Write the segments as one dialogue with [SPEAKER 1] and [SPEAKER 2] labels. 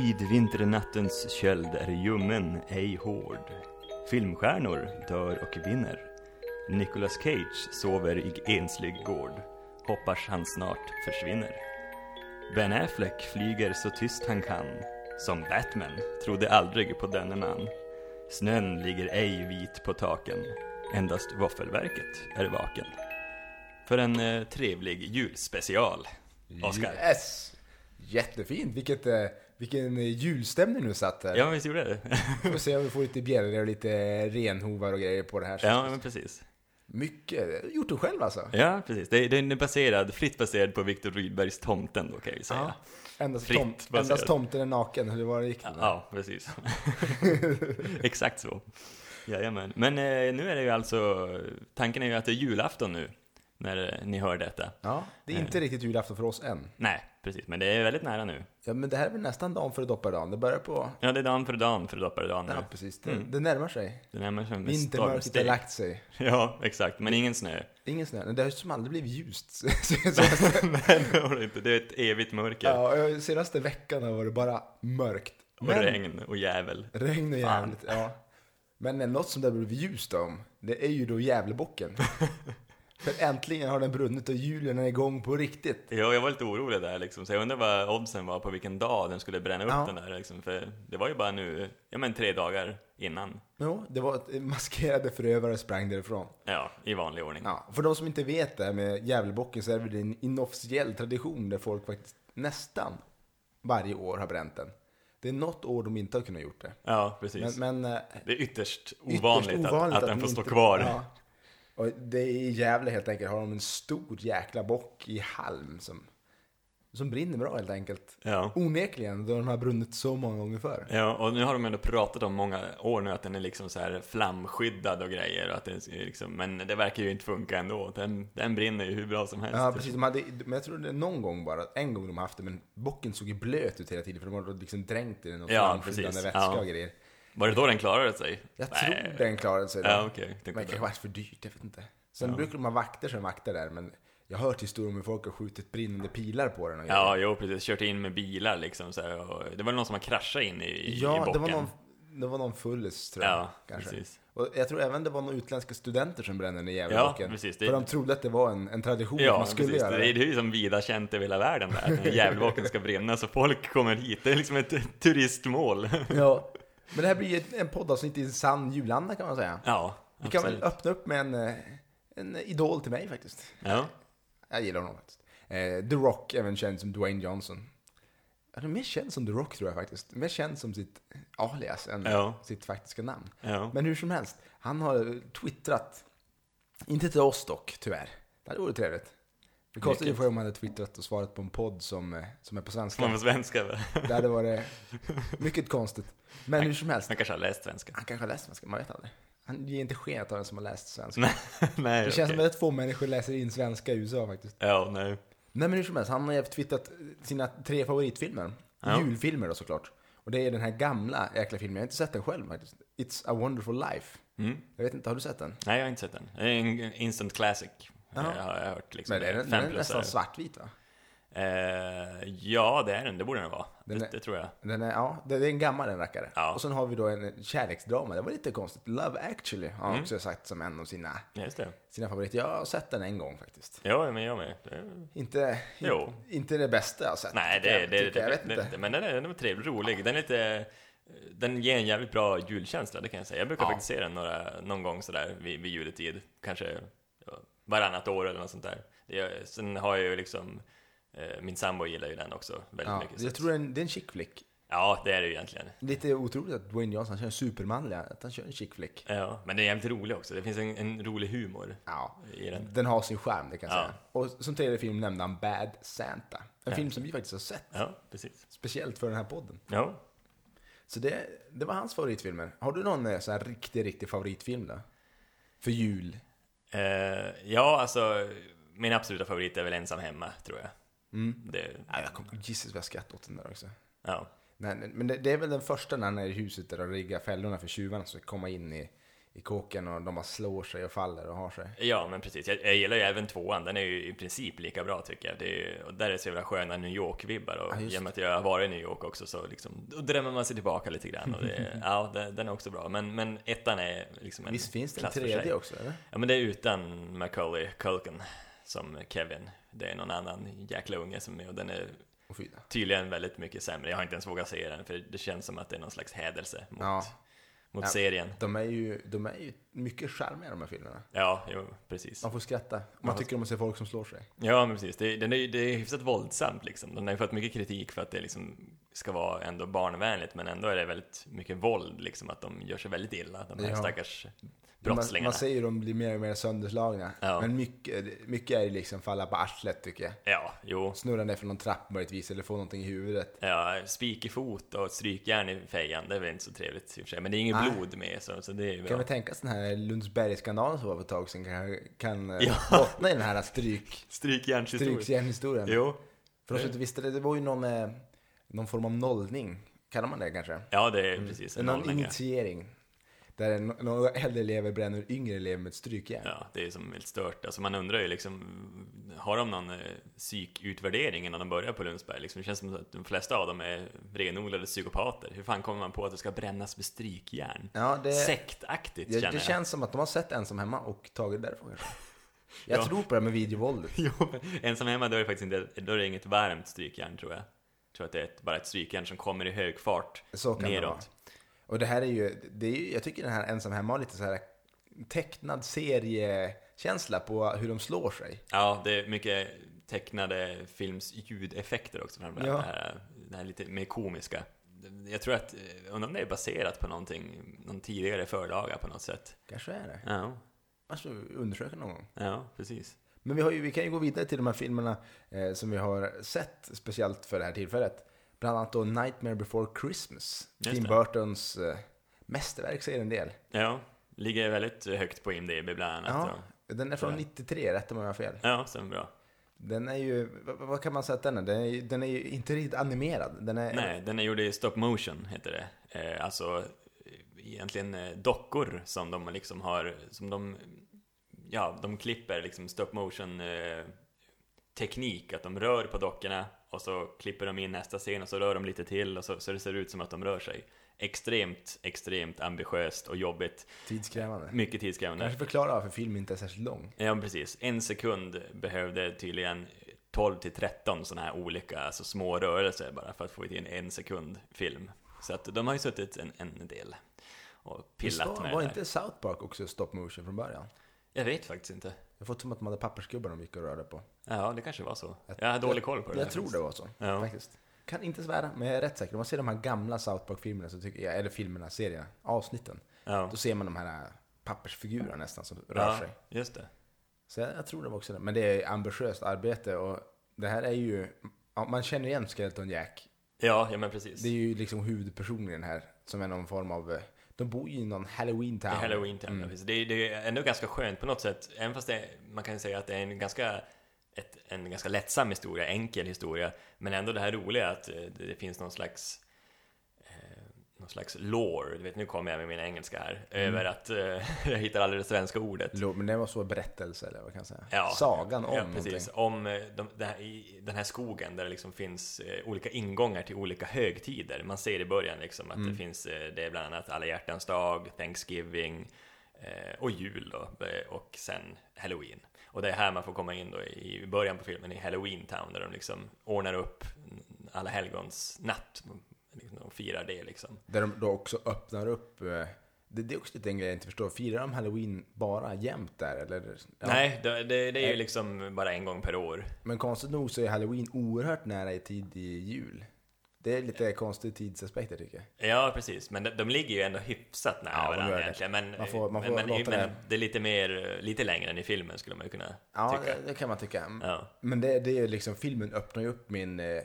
[SPEAKER 1] Midvinternattens köld är ljummen, ej hård. Filmstjärnor dör och vinner. Nicolas Cage sover i enslig gård. Hoppas han snart försvinner. Ben Affleck flyger så tyst han kan. Som Batman trodde aldrig på denne man. Snön ligger ej vit på taken. Endast våffelverket är vaken. För en eh, trevlig julspecial, Oscar.
[SPEAKER 2] Yes! Jättefint! Vilket, eh, vilken julstämning du satt här.
[SPEAKER 1] Ja, visst gjorde jag det?
[SPEAKER 2] Vi får se om vi får lite bjällror och lite renhovar och grejer på det här.
[SPEAKER 1] ja, men precis.
[SPEAKER 2] Mycket. Gjort du själv alltså?
[SPEAKER 1] Ja, precis. Det- Den är baserad, fritt baserad på Viktor Rydbergs Tomten då kan jag ju säga.
[SPEAKER 2] Endast,
[SPEAKER 1] Fritt
[SPEAKER 2] tom,
[SPEAKER 1] baserat.
[SPEAKER 2] endast tomten är naken, eller vad det gick?
[SPEAKER 1] Ja, precis. Exakt så. Jajamän. Men eh, nu är det ju alltså, tanken är ju att det är julafton nu när eh, ni hör detta.
[SPEAKER 2] Ja, det är inte riktigt julafton för oss än.
[SPEAKER 1] Nej, precis, men det är väldigt nära nu.
[SPEAKER 2] Ja, men det här är väl nästan dagen före dopparedagen. Det börjar på...
[SPEAKER 1] Ja, det är dan för dan för dopparedagen nu.
[SPEAKER 2] Ja, precis. Det,
[SPEAKER 1] Mm.
[SPEAKER 2] det närmar sig.
[SPEAKER 1] Det närmar sig med
[SPEAKER 2] Vintermörkret har
[SPEAKER 1] stormsteg.
[SPEAKER 2] lagt sig.
[SPEAKER 1] Ja, exakt, men ingen snö.
[SPEAKER 2] Ingen snö. Nej, Det har ju som aldrig blivit ljust. Så-
[SPEAKER 1] Nej, det har det inte. Det är ett evigt mörker.
[SPEAKER 2] ja, och senaste veckan har varit bara mörkt.
[SPEAKER 1] och
[SPEAKER 2] Men-
[SPEAKER 1] regn och jävel.
[SPEAKER 2] Regn och
[SPEAKER 1] Fan.
[SPEAKER 2] jävligt, ja. Men eh, något som det har blivit ljust om, det är ju då Gävlebocken. För äntligen har den brunnit och julen är igång på riktigt.
[SPEAKER 1] Ja, jag var lite orolig där liksom, så jag undrar vad oddsen var på vilken dag den skulle bränna upp
[SPEAKER 2] Ja.
[SPEAKER 1] den där liksom, för det var ju bara nu, ja men tre dagar innan.
[SPEAKER 2] Jo, det var ett maskerade förövare sprang därifrån.
[SPEAKER 1] Ja, i vanlig ordning.
[SPEAKER 2] Ja, för de som inte vet det här med Gävlebocken så är det väl en inofficiell tradition där folk faktiskt nästan varje år har bränt den. Det är något år de inte har kunnat gjort det.
[SPEAKER 1] Ja, precis.
[SPEAKER 2] Men, men eh,
[SPEAKER 1] det är ytterst
[SPEAKER 2] ytterst
[SPEAKER 1] ovanligt, att,
[SPEAKER 2] ovanligt
[SPEAKER 1] att, den
[SPEAKER 2] de
[SPEAKER 1] får stå
[SPEAKER 2] inte-
[SPEAKER 1] kvar.
[SPEAKER 2] Ja. Och det är i Gävle helt enkelt, har de en stor jäkla bock i halm som, som brinner bra helt enkelt.
[SPEAKER 1] Ja.
[SPEAKER 2] Onekligen, då den har brunnit så många gånger förr.
[SPEAKER 1] ja, och nu har de ändå pratat om många år nu att den är liksom så här flamskyddad och grejer, och att den är liksom, men det verkar ju inte funka ändå. Den, den brinner ju hur bra som helst.
[SPEAKER 2] Ja, precis. De hade, men jag tror det är någon gång bara, en gång de haft det, men bocken såg ju blöt ut hela tiden för de var liksom dränkt i någon
[SPEAKER 1] Ja,
[SPEAKER 2] flamskyddande
[SPEAKER 1] precis.
[SPEAKER 2] vätska
[SPEAKER 1] Ja.
[SPEAKER 2] och grejer.
[SPEAKER 1] Var det då den klarade sig?
[SPEAKER 2] Jag
[SPEAKER 1] Nej.
[SPEAKER 2] tror den klarade sig.
[SPEAKER 1] Ja,
[SPEAKER 2] då.
[SPEAKER 1] okej. Jag tänkte
[SPEAKER 2] Men det
[SPEAKER 1] det.
[SPEAKER 2] kanske var för dyrt, jag vet inte. Sen brukar de ha vakter som vakter där, men jag har hört historier om hur folk har skjutit brinnande pilar på den och grejer.
[SPEAKER 1] Ja, jo precis. Kört in med bilar liksom så här, och det var någon som har kraschat in i, i
[SPEAKER 2] Ja,
[SPEAKER 1] bocken.
[SPEAKER 2] det var någon, det var någon fullis tror jag.
[SPEAKER 1] Ja,
[SPEAKER 2] kanske.
[SPEAKER 1] precis.
[SPEAKER 2] Och jag tror även det var några utländska studenter som brände ner
[SPEAKER 1] Ja,
[SPEAKER 2] Gävlebocken.
[SPEAKER 1] precis, det-
[SPEAKER 2] För de trodde att det var en, en tradition att man
[SPEAKER 1] Ja,
[SPEAKER 2] skulle
[SPEAKER 1] precis.
[SPEAKER 2] göra
[SPEAKER 1] Det är
[SPEAKER 2] det.
[SPEAKER 1] ju som vida känt över hela världen där. När Gävlebocken ska brinna så folk kommer hit. Det är liksom ett turistmål.
[SPEAKER 2] Ja. Men det här blir ju ett- en poddavsnitt i en sann julanda kan man säga.
[SPEAKER 1] Ja,
[SPEAKER 2] Vi kan väl
[SPEAKER 1] absolut.
[SPEAKER 2] öppna upp med en, eh, en idol till mig faktiskt.
[SPEAKER 1] Ja.
[SPEAKER 2] Jag gillar honom faktiskt. Eh, The Rock, även känd som Dwayne Johnson. Han är mer känd som The Rock tror jag faktiskt. Mer känd som sitt alias än
[SPEAKER 1] Ja.
[SPEAKER 2] sitt faktiska namn.
[SPEAKER 1] Ja.
[SPEAKER 2] Men hur som helst, han har twittrat. Inte till oss dock, tyvärr. Det hade varit trevligt. Det kostade ju
[SPEAKER 1] Vilket?
[SPEAKER 2] för om han hade twittrat och svarat på en podd som, eh, som är på
[SPEAKER 1] Får man
[SPEAKER 2] svenska.
[SPEAKER 1] på svenska? va?
[SPEAKER 2] Det hade varit mycket konstigt. Men hur som helst,
[SPEAKER 1] Man kanske har läst svenska.
[SPEAKER 2] han kanske har läst svenska, man vet aldrig. Han ger inte skenet av den som har läst svenska.
[SPEAKER 1] Nej, nej.
[SPEAKER 2] Det känns som
[SPEAKER 1] okej.
[SPEAKER 2] att rätt få människor läser in svenska i USA faktiskt.
[SPEAKER 1] Ja, nej.
[SPEAKER 2] Nej men hur som helst, han har ju twittrat sina tre favoritfilmer.
[SPEAKER 1] Ja.
[SPEAKER 2] Julfilmer då såklart. Och det är den här gamla jäkla filmen, jag har inte sett den själv faktiskt. It's a wonderful life.
[SPEAKER 1] Mm.
[SPEAKER 2] Jag vet inte, har du sett den?
[SPEAKER 1] Nej, jag har inte sett den. Det är en instant classic.
[SPEAKER 2] Ja.
[SPEAKER 1] eh, Har jag hört liksom.
[SPEAKER 2] Men den, är- den
[SPEAKER 1] Fem
[SPEAKER 2] är
[SPEAKER 1] plus
[SPEAKER 2] nästan svartvit va?
[SPEAKER 1] Eh, ja, det är den. Det borde den vara.
[SPEAKER 2] Den
[SPEAKER 1] det,
[SPEAKER 2] är-
[SPEAKER 1] det tror jag.
[SPEAKER 2] Den är, ja, det det är en gammal den rackare.
[SPEAKER 1] Ja.
[SPEAKER 2] Och sen har vi då en kärleksdrama, det var lite konstigt. Love actually har
[SPEAKER 1] Mm.
[SPEAKER 2] han också sagt som en av sina,
[SPEAKER 1] Ja, just det.
[SPEAKER 2] sina favoriter. Jag har sett den en gång faktiskt.
[SPEAKER 1] Ja, men jag med. Det-
[SPEAKER 2] Inte,
[SPEAKER 1] Jo.
[SPEAKER 2] inte det bästa jag har sett.
[SPEAKER 1] Nej, det,
[SPEAKER 2] tycker
[SPEAKER 1] det,
[SPEAKER 2] jag,
[SPEAKER 1] det,
[SPEAKER 2] tycker jag,
[SPEAKER 1] det,
[SPEAKER 2] vet
[SPEAKER 1] det,
[SPEAKER 2] inte.
[SPEAKER 1] det, men den är, den är trevlig, rolig. Den är lite... Den ger en jävligt bra julkänsla, det kan jag säga. Jag brukar
[SPEAKER 2] Ja.
[SPEAKER 1] faktiskt se den några, någon gång sådär vid, vid juletid. Kanske ja, varannat år eller något sånt där. Det, gör- sen har jag ju liksom... Eh, min sambo gillar ju den också väldigt
[SPEAKER 2] Ja,
[SPEAKER 1] mycket. så
[SPEAKER 2] jag
[SPEAKER 1] att-
[SPEAKER 2] tror det är en, det är en chick flick.
[SPEAKER 1] Ja, det är det ju egentligen.
[SPEAKER 2] Lite otroligt att Dwayne Johnson kör en supermanlig, att han kör en chick flick.
[SPEAKER 1] Ja, men den är jävligt rolig också. Det finns en, en rolig humor
[SPEAKER 2] Ja,
[SPEAKER 1] i den.
[SPEAKER 2] den har sin charm det kan jag
[SPEAKER 1] Ja.
[SPEAKER 2] säga. Och som tredje film nämnde han Bad Santa. En film som vi faktiskt har sett.
[SPEAKER 1] Ja, precis.
[SPEAKER 2] Speciellt för den här podden.
[SPEAKER 1] Ja.
[SPEAKER 2] Så det, det var hans favoritfilmer. Har du någon eh, så här riktig, riktig favoritfilm då? För jul?
[SPEAKER 1] Eh, ja, alltså... Min absoluta favorit är väl Ensam Hemma, tror jag.
[SPEAKER 2] Mm.
[SPEAKER 1] Det,
[SPEAKER 2] Ja, jag kommer, Jesus vad jag skrattade åt den där också.
[SPEAKER 1] ja.
[SPEAKER 2] Nej, nej, men det, det är väl den första när han är i huset där de riggar fällorna för tjuvarna som ska komma in i, i kåken och de bara slår sig och faller och har sig.
[SPEAKER 1] Ja, men precis. Jag, jag gillar ju även tvåan. Den är ju i princip lika bra tycker jag. Det är, ju- och där är det så jävla sköna New York-vibbar. Och
[SPEAKER 2] Ja, just
[SPEAKER 1] i och med att jag har varit i New York också så liksom, då drömmer man sig tillbaka lite grann. Och det, ja, den, den är också bra. Men, men ettan är liksom en
[SPEAKER 2] Visst finns det en
[SPEAKER 1] klass för sig.
[SPEAKER 2] tredje också? Eller?
[SPEAKER 1] Ja, men det är utan Macaulay Culkin som Kevin. Det är någon annan jäkla unge som är och den är
[SPEAKER 2] Och fyra.
[SPEAKER 1] tydligen väldigt mycket sämre. Jag har inte ens vågat se den för det känns som att det är någon slags hädelse mot,
[SPEAKER 2] Ja.
[SPEAKER 1] mot
[SPEAKER 2] Ja.
[SPEAKER 1] serien.
[SPEAKER 2] De är, ju, de är ju mycket charmiga de här filmerna.
[SPEAKER 1] Ja, jo, precis.
[SPEAKER 2] Man får skratta. Man tycker om att se folk som slår sig.
[SPEAKER 1] Ja, men precis. Det, den är, ju- det är hyfsat våldsamt liksom. Den har ju fått mycket kritik för att det liksom ska vara ändå barnvänligt, men ändå är det väldigt mycket våld liksom, att de gör sig väldigt illa, de här
[SPEAKER 2] Ja.
[SPEAKER 1] stackars
[SPEAKER 2] Man,
[SPEAKER 1] brottslingarna.
[SPEAKER 2] man säger ju de blir mer och mer sönderslagna.
[SPEAKER 1] Ja.
[SPEAKER 2] Men mycket, mycket är ju liksom falla på arslet tycker jag.
[SPEAKER 1] Ja, jo.
[SPEAKER 2] Snurra ner från någon trapp möjligtvis eller få någonting i huvudet.
[SPEAKER 1] Ja, spik i fot och strykjärn i fejan, det är väl inte så trevligt i och för sig. Men det är inget
[SPEAKER 2] Nej.
[SPEAKER 1] blod med, så, så det är ju
[SPEAKER 2] Kan
[SPEAKER 1] bra.
[SPEAKER 2] vi tänka oss den här Lundsbergsskandalen som var för ett tag sedan kan, kan eh,
[SPEAKER 1] Ja.
[SPEAKER 2] bottna i den här stryk,
[SPEAKER 1] Strykjärnshistoria.
[SPEAKER 2] strykjärnhistorien?
[SPEAKER 1] Jo.
[SPEAKER 2] För de som inte visste det, det var ju någon, eh, någon form av nollning. Kallar man det kanske?
[SPEAKER 1] Ja, det är precis. En
[SPEAKER 2] Mm. någon
[SPEAKER 1] nollning, ja.
[SPEAKER 2] initiering. Där en- några äldre elever bränner yngre elever med ett strykjärn.
[SPEAKER 1] Ja, det är som helt stört. Alltså man undrar ju liksom, har de någon eh, psykutvärdering innan de börjar på Lundsberg? Liksom, det känns som att de flesta av dem är renodlade psykopater. Hur fan kommer man på att det ska brännas med strykjärn?
[SPEAKER 2] Ja, det,
[SPEAKER 1] Sektaktigt
[SPEAKER 2] Eh, det,
[SPEAKER 1] känner
[SPEAKER 2] det
[SPEAKER 1] jag.
[SPEAKER 2] känns som att de har sett Ensam Hemma och tagit det därifrån kanske. Jag
[SPEAKER 1] Ja.
[SPEAKER 2] tror på det här med videovåldet.
[SPEAKER 1] Jo, men ensam hemma då är det faktiskt inte, då är det inget varmt strykjärn tror jag. Jag tror att det är ett, bara ett strykjärn som kommer i hög fart
[SPEAKER 2] Så kan det vara.
[SPEAKER 1] neråt.
[SPEAKER 2] Och det här är ju, det är ju, jag tycker den här Ensam Hemma har lite så här tecknad seriekänsla på hur de slår sig.
[SPEAKER 1] Ja, det är mycket tecknade films ljudeffekter också framförallt.
[SPEAKER 2] Ja.
[SPEAKER 1] Det, här, det här lite mer komiska. Jag tror att, eh, undrar om det är baserat på någonting, någon tidigare förlaga på något sätt.
[SPEAKER 2] Kanske är det.
[SPEAKER 1] Ja,
[SPEAKER 2] Man ska undersöka någon gång.
[SPEAKER 1] ja precis.
[SPEAKER 2] Men vi, har ju, vi kan ju gå vidare till de här filmerna eh, som vi har sett speciellt för det här tillfället. Bland annat då Nightmare Before Christmas.
[SPEAKER 1] Just
[SPEAKER 2] Tim
[SPEAKER 1] det.
[SPEAKER 2] Burtons eh, mästerverk säger en del.
[SPEAKER 1] Ja, ligger väldigt högt på IMDB bland annat.
[SPEAKER 2] Ja,
[SPEAKER 1] Ja,
[SPEAKER 2] den är från
[SPEAKER 1] Ja.
[SPEAKER 2] 93, rätt om jag har fel.
[SPEAKER 1] ja sen bra. den
[SPEAKER 2] Den är ju, vad, vad kan man säga att den är? Den är, ju- den är ju inte riktigt animerad. Den är,
[SPEAKER 1] Nej, den är gjord i stop motion, heter det. Eh, alltså, eh, egentligen eh, dockor som de liksom har, som de, ja, de klipper liksom stop motion eh, teknik, att de rör på dockorna och så klipper de in nästa scen och så rör de lite till och så, så det ser ut som att de rör sig. Extremt, extremt ambitiöst och jobbigt.
[SPEAKER 2] tidskrävande.
[SPEAKER 1] Mycket tidskrävande.
[SPEAKER 2] Kanske förklara varför filmen inte är särskilt lång.
[SPEAKER 1] Ja, men precis. En sekund behövde tydligen 12 till 13 sådana här olika, alltså små rörelser bara för att få in en sekund film. Så att de har ju suttit en, en del och
[SPEAKER 2] Visst
[SPEAKER 1] pillat
[SPEAKER 2] var-
[SPEAKER 1] med
[SPEAKER 2] Var
[SPEAKER 1] det där.
[SPEAKER 2] inte South Park också stop motion från början?
[SPEAKER 1] Jag vet faktiskt inte.
[SPEAKER 2] Jag har fått som att de hade pappersgubbar de gick och rörde på.
[SPEAKER 1] Ja, det kanske var så. Jag har dålig koll på det.
[SPEAKER 2] Jag
[SPEAKER 1] där
[SPEAKER 2] tror
[SPEAKER 1] faktiskt.
[SPEAKER 2] det var så,
[SPEAKER 1] Ja.
[SPEAKER 2] faktiskt. Kan inte svära, men jag är rätt säker. Om man ser de här gamla South Park-filmerna, så tycker jag, eller filmerna, serierna, avsnitten.
[SPEAKER 1] Ja.
[SPEAKER 2] Då ser man de här äh, pappersfigurerna nästan som rör
[SPEAKER 1] ja,
[SPEAKER 2] sig.
[SPEAKER 1] just det.
[SPEAKER 2] Så jag, jag tror det var också det. Men det är ambitiöst arbete och det här är ju, ja, man känner igen Skeleton Jack.
[SPEAKER 1] Ja, ja men precis.
[SPEAKER 2] Det är ju liksom huvudpersonen i den här, som är någon form av, eh, de bor ju i någon Halloween Town.
[SPEAKER 1] Det är Halloween Town, ja, precis. det, är- det är ändå ganska skönt på något sätt. Även fast det, är- man kan säga att det är en ganska, ett, en ganska lättsam historia, enkel historia. Men ändå det här roliga att eh, det, det finns någon slags eh, någon slags lore, du vet nu kommer jag med min engelska här, över att eh, jag hittar aldrig det svenska ordet.
[SPEAKER 2] Lo- Men det var så berättelse eller vad kan jag säga?
[SPEAKER 1] Ja.
[SPEAKER 2] Sagan om
[SPEAKER 1] ja,
[SPEAKER 2] någonting.
[SPEAKER 1] precis. Om eh, de, det här, i den här skogen där det liksom finns eh, olika ingångar till olika högtider. Man ser i början liksom att
[SPEAKER 2] Mm.
[SPEAKER 1] det finns, eh, det är bland annat alla hjärtans dag, Thanksgiving eh, och jul då, eh, och sen Halloween. Och det är här man får komma in då i början på filmen i Halloween Town där de liksom ordnar upp alla helgons natt liksom, och firar det liksom.
[SPEAKER 2] Där de då också öppnar upp, eh, det, det är också lite en grej jag inte förstår. Firar de halloween bara jämt där eller? Ja.
[SPEAKER 1] Nej, det, det, det är ju liksom bara en gång per år.
[SPEAKER 2] Men konstigt nog så är halloween oerhört nära i tid i jul. Det är lite konstig tidsaspekter tycker jag.
[SPEAKER 1] Ja, precis. Men de, de ligger ju ändå hyfsat nära
[SPEAKER 2] Ja, de gör
[SPEAKER 1] varandra
[SPEAKER 2] det.
[SPEAKER 1] egentligen. Men,
[SPEAKER 2] Man får- man
[SPEAKER 1] men,
[SPEAKER 2] får
[SPEAKER 1] men,
[SPEAKER 2] låta
[SPEAKER 1] men
[SPEAKER 2] det-
[SPEAKER 1] det är lite, mer, lite längre än i filmen skulle man ju kunna
[SPEAKER 2] Ja,
[SPEAKER 1] tycka.
[SPEAKER 2] det, det kan man tycka. Mm.
[SPEAKER 1] Ja.
[SPEAKER 2] Men det, det är liksom, filmen öppnar ju upp min, eh,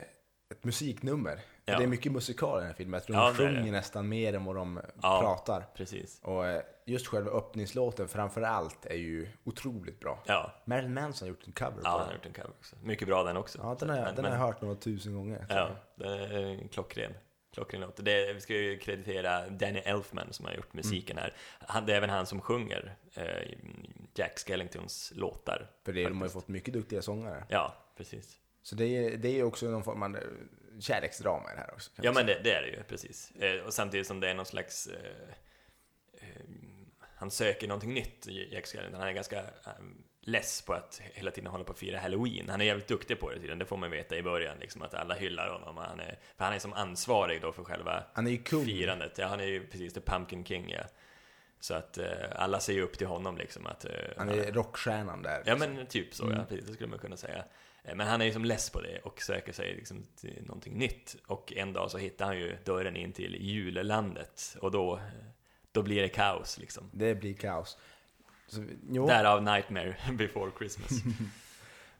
[SPEAKER 2] ett musiknummer. För
[SPEAKER 1] Ja.
[SPEAKER 2] Det är mycket musikal i den här filmen. Jag tror
[SPEAKER 1] Ja,
[SPEAKER 2] de
[SPEAKER 1] det är det.
[SPEAKER 2] sjunger nästan mer än vad de
[SPEAKER 1] Ja.
[SPEAKER 2] pratar.
[SPEAKER 1] Precis.
[SPEAKER 2] Och eh, just själva öppningslåten framför allt är ju otroligt bra.
[SPEAKER 1] Ja,
[SPEAKER 2] Marilyn Manson har gjort en cover
[SPEAKER 1] ja
[SPEAKER 2] på
[SPEAKER 1] den har
[SPEAKER 2] den.
[SPEAKER 1] gjort en cover också. Mycket bra den också.
[SPEAKER 2] Ja, den har,
[SPEAKER 1] Men-
[SPEAKER 2] jag- den har jag hört några tusen gånger.
[SPEAKER 1] men, Ja, den är eh, klockren. Klockren låt. Det, vi ska ju kreditera Danny Elfman som har gjort
[SPEAKER 2] Mm.
[SPEAKER 1] musiken här. Han, det är även han som sjunger eh, Jack Skellingtons låtar.
[SPEAKER 2] För det, de har ju
[SPEAKER 1] faktiskt.
[SPEAKER 2] fått mycket duktiga sångare.
[SPEAKER 1] Ja, precis.
[SPEAKER 2] Så det är, det är också någon form av eh, kärleksdrama i det här också. kan
[SPEAKER 1] Ja, men
[SPEAKER 2] man
[SPEAKER 1] det, det är det ju, precis. Eh, och samtidigt som det är någon slags... Eh, eh, han söker någonting nytt, Jack Skellington. Han är ganska eh, less på att hela tiden hålla på och fira halloween. Han är jävligt duktig på det tydligen, det får man veta i början. Liksom, att alla hyllar honom. och Han är, för han är som ansvarig då för själva
[SPEAKER 2] Han är ju kung.
[SPEAKER 1] firandet. Ja, han är ju precis the Pumpkin King, ja. Så att eh, alla ser ju upp till honom liksom. Att, eh,
[SPEAKER 2] Han är rockstjärnan där.
[SPEAKER 1] Ja men typ så, ja, precis, det skulle man kunna säga. Eh, Men han är ju som less på det och söker sig liksom till någonting nytt. Och en dag så hittar han ju dörren in till julelandet och då, då blir det kaos liksom.
[SPEAKER 2] Det blir kaos. Så, jo,
[SPEAKER 1] Därav Nightmare before Christmas.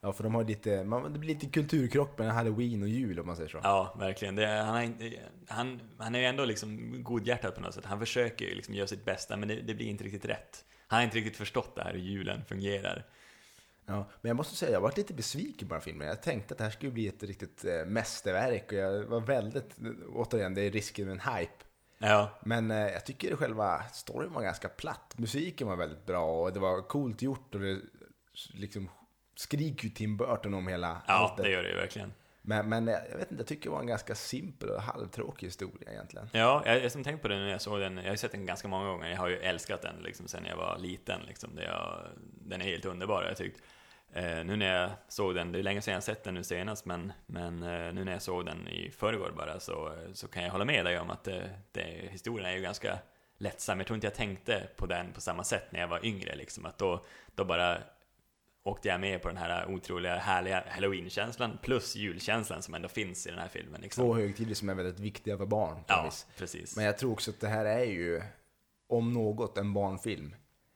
[SPEAKER 2] ja, för de har lite, man, det blir lite kulturkrock mellan halloween och jul om man säger så.
[SPEAKER 1] Ja, verkligen. Det, är- han, har inte, han, han är ju ändå liksom godhjärtad på något sätt. Han försöker ju liksom göra sitt bästa men det, det blir inte riktigt rätt. Han har inte riktigt förstått det här hur julen fungerar.
[SPEAKER 2] Ja, men jag måste säga, jag varit lite besviken på den här filmen. Jag tänkte att det här skulle bli ett riktigt eh, mästerverk och jag var väldigt, återigen, det är risken med en hype.
[SPEAKER 1] Ja,
[SPEAKER 2] Men eh, jag tycker själva storyn var ganska platt. Musiken var väldigt bra och det var coolt gjort och det liksom skriker ju Tim Burton om hela
[SPEAKER 1] ja
[SPEAKER 2] det.
[SPEAKER 1] det gör det ju verkligen.
[SPEAKER 2] Men, men eh, jag vet inte, jag tycker det var en ganska simpel och halvtråkig historia egentligen.
[SPEAKER 1] Ja, jag jag som tänkt på det när jag såg den. Jag har ju sett den ganska många gånger. Jag har ju älskat den liksom sen jag var liten. Liksom. Det jag, den är helt underbar har jag tyckt. Eh, nu när jag såg den, det är länge sedan jag sett den nu senast, men, men eh, nu när jag såg den i förrgår bara så, så kan jag hålla med dig om att det, det, historien är ju ganska lättsam. Jag tror inte jag tänkte på den på samma sätt när jag var yngre. Liksom. Att då, då bara åkte jag med på den här otroliga härliga halloween-känslan plus julkänslan som ändå finns i den här filmen. Liksom.
[SPEAKER 2] Två högtider som är väldigt viktiga för barn. på
[SPEAKER 1] Ja,
[SPEAKER 2] vis.
[SPEAKER 1] precis.
[SPEAKER 2] Men jag tror också att det här är ju, om något, en barnfilm.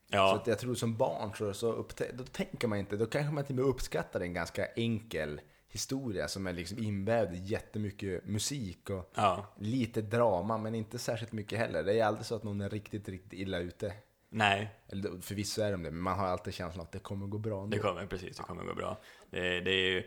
[SPEAKER 2] Så
[SPEAKER 1] Ja,
[SPEAKER 2] att jag tror som barn så, så upptä- då tänker man inte, då kanske man till och med uppskattar en ganska enkel historia som är liksom invävd i jättemycket musik och
[SPEAKER 1] ja.
[SPEAKER 2] lite drama men inte särskilt mycket heller. Det är aldrig så att någon är riktigt, riktigt illa ute.
[SPEAKER 1] Nej,
[SPEAKER 2] Eller då- förvisso är de det, men man har alltid känslan att det kommer gå bra
[SPEAKER 1] det
[SPEAKER 2] ändå.
[SPEAKER 1] kommer precis, det kommer gå bra. Det, det är ju,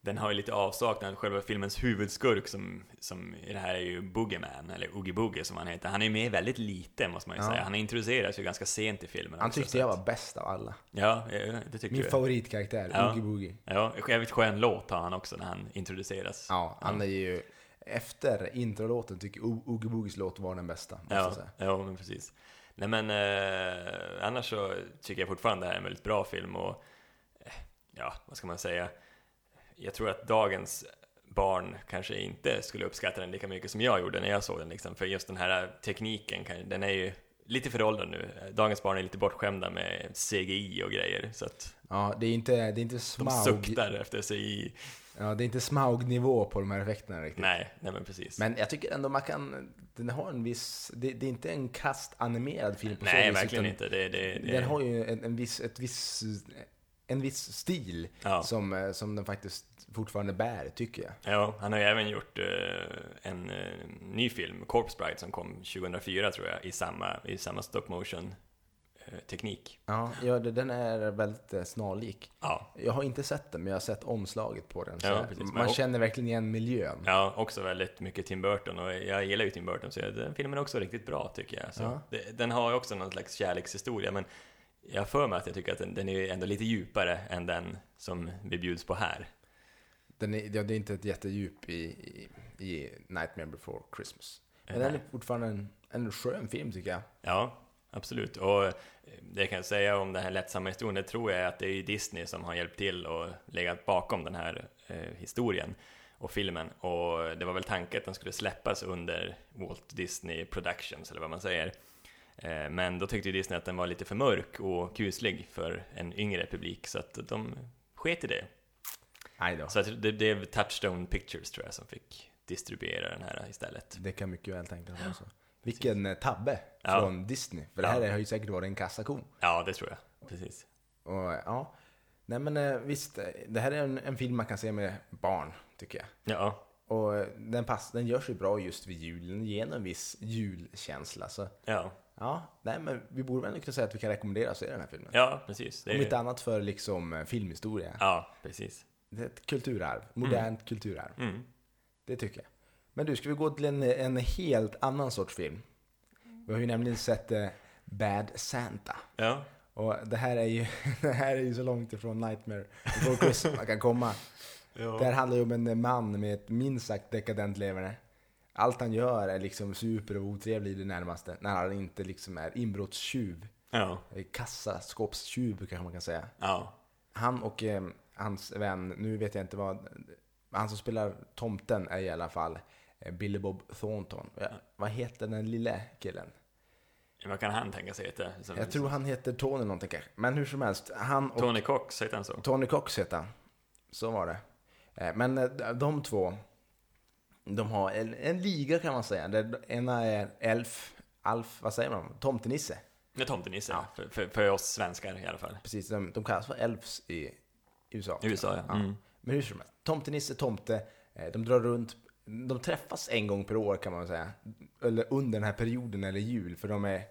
[SPEAKER 1] den har ju lite avsaknad, själva filmens huvudskurk som, som i det här är ju Boogeyman, eller Oogie Boogie som han heter. Han är ju med väldigt lite måste man ju
[SPEAKER 2] Ja.
[SPEAKER 1] säga. Han introduceras ju ganska sent i filmen.
[SPEAKER 2] Han
[SPEAKER 1] också,
[SPEAKER 2] tyckte
[SPEAKER 1] så
[SPEAKER 2] jag
[SPEAKER 1] att-
[SPEAKER 2] var bäst av alla.
[SPEAKER 1] Ja, eh, det tycker
[SPEAKER 2] Min
[SPEAKER 1] jag.
[SPEAKER 2] favoritkaraktär,
[SPEAKER 1] Ja.
[SPEAKER 2] Oogie Boogie.
[SPEAKER 1] Ja, jävligt skön låt har han också när han introduceras.
[SPEAKER 2] Ja, han är ju... Efter introlåten tycker jag O- Oogie Boogies låt var den bästa. Måste jag
[SPEAKER 1] Ja,
[SPEAKER 2] säga.
[SPEAKER 1] ja men precis. Nej men eh, annars så tycker jag fortfarande det här är en väldigt bra film och eh, ja, vad ska man säga? Jag tror att dagens barn kanske inte skulle uppskatta den lika mycket som jag gjorde när jag såg den liksom. För just den här tekniken, kan- den är ju lite föråldrad nu. Dagens barn är lite bortskämda med CGI och grejer så att
[SPEAKER 2] Ja, det är inte, det är inte
[SPEAKER 1] de
[SPEAKER 2] smaug...
[SPEAKER 1] suktar efter CGI.
[SPEAKER 2] Typ. Ja, det är inte smaug-nivå på de här effekterna riktigt.
[SPEAKER 1] Nej, nej men precis.
[SPEAKER 2] Men jag tycker ändå man kan, den har en viss, det, det är inte en kast animerad film på så
[SPEAKER 1] nej,
[SPEAKER 2] vis,
[SPEAKER 1] verkligen
[SPEAKER 2] utan
[SPEAKER 1] inte. Det, det, det,
[SPEAKER 2] Den har ju en, en viss, ett viss, en viss stil
[SPEAKER 1] Ja.
[SPEAKER 2] som, eh, som den faktiskt fortfarande bär, tycker jag.
[SPEAKER 1] Ja, han har ju även gjort eh, en eh, ny film, Corpse Bride, som kom 2004 tror jag, i samma, i samma stop eh, motion-teknik.
[SPEAKER 2] Ja, ja det, den är väldigt eh, snarlik.
[SPEAKER 1] ja,
[SPEAKER 2] Jag har inte sett den, men jag har sett omslaget på den. Så
[SPEAKER 1] Ja,
[SPEAKER 2] jag-
[SPEAKER 1] precis. Men
[SPEAKER 2] man
[SPEAKER 1] jag-
[SPEAKER 2] känner verkligen igen miljön.
[SPEAKER 1] ja, också väldigt mycket Tim Burton och jag gillar ju Tim Burton så den filmen är också riktigt bra tycker jag. Så
[SPEAKER 2] Ja.
[SPEAKER 1] det, den har ju också någon slags kärlekshistoria men jag har för mig att jag tycker att den, den är ju ändå lite djupare än den som vi bjuds på här.
[SPEAKER 2] Den är, ja, det är inte ett jättedjup i, i, i Nightmare before Christmas. Men
[SPEAKER 1] Nej.
[SPEAKER 2] den är fortfarande en, en skön film, tycker jag.
[SPEAKER 1] Ja, absolut. Och eh, det kan jag säga om den här lättsamma historien, det tror jag är att det är ju Disney som har hjälpt till och legat bakom den här eh, historien och filmen. Och det var väl tanken att den skulle släppas under Walt Disney Productions, eller vad man säger. Eh, Men då tyckte ju Disney att den var lite för mörk och kuslig för en yngre publik, så att de sket i det.
[SPEAKER 2] Nej då.
[SPEAKER 1] Så att det blev Touchstone Pictures, tror jag, som fick distribuera den här istället.
[SPEAKER 2] Det kan mycket väl tänkas vara så. Vilken eh, tabbe
[SPEAKER 1] Ja.
[SPEAKER 2] från Disney. För det
[SPEAKER 1] Ja.
[SPEAKER 2] här har ju säkert varit en kassako.
[SPEAKER 1] Ja, det tror jag. Precis.
[SPEAKER 2] Och eh, ja, nej men eh, visst. eh, Det här är en, en film man kan se med barn, tycker jag.
[SPEAKER 1] Ja,
[SPEAKER 2] Och eh, den, pass, den gör sig bra just vid julen, ger en viss julkänsla. Så
[SPEAKER 1] ja,
[SPEAKER 2] ja, nej men vi borde väl ändå kunna säga att vi kan rekommendera att se den här filmen.
[SPEAKER 1] ja, precis. Det är
[SPEAKER 2] Om
[SPEAKER 1] ju-
[SPEAKER 2] inte annat för liksom eh, filmhistoria.
[SPEAKER 1] Ja, precis.
[SPEAKER 2] Det är ett kulturarv, modernt kulturarv.
[SPEAKER 1] Mm.
[SPEAKER 2] Det tycker jag. Men du, ska vi gå till en, en helt annan sorts film? Vi har ju nämligen sett eh, Bad Santa.
[SPEAKER 1] Ja.
[SPEAKER 2] Och det här är ju, det här är ju så långt ifrån Nightmare before Christmas man kan komma. Det här handlar ju om en man med ett minst sagt dekadent leverne. Allt han gör är liksom super och otrevlig i det närmaste. När han inte liksom är inbrottstjuv.
[SPEAKER 1] Ja.
[SPEAKER 2] Eh, Kassaskåpstjuv kanske man kan säga.
[SPEAKER 1] Ja.
[SPEAKER 2] Han och eh, hans vän, nu vet jag inte vad, han som spelar tomten är i alla fall eh, Billy Bob Thornton. Ja, Vad heter den lille killen?
[SPEAKER 1] Vad kan han tänka sig heta? Som-
[SPEAKER 2] Jag tror han heter Tony någonting kanske. Men hur som helst, han och
[SPEAKER 1] Tony Cox, heter han så?
[SPEAKER 2] Tony Cox heter han. Så var det. Eh, Men eh, de två, de har en, en liga kan man säga. Där ena är Elf, Alf, vad säger man? Tomtenisse.
[SPEAKER 1] Nej, Tomtenisse. För, för, för oss svenskar i alla fall.
[SPEAKER 2] Precis, de, de kallas för Elfs i USA.
[SPEAKER 1] I USA, ja. Mm.
[SPEAKER 2] Men hur som helst, tomtenisse, tomte, eh, de drar runt. De träffas en gång per år kan man säga. Eller under den här perioden eller jul. För de är,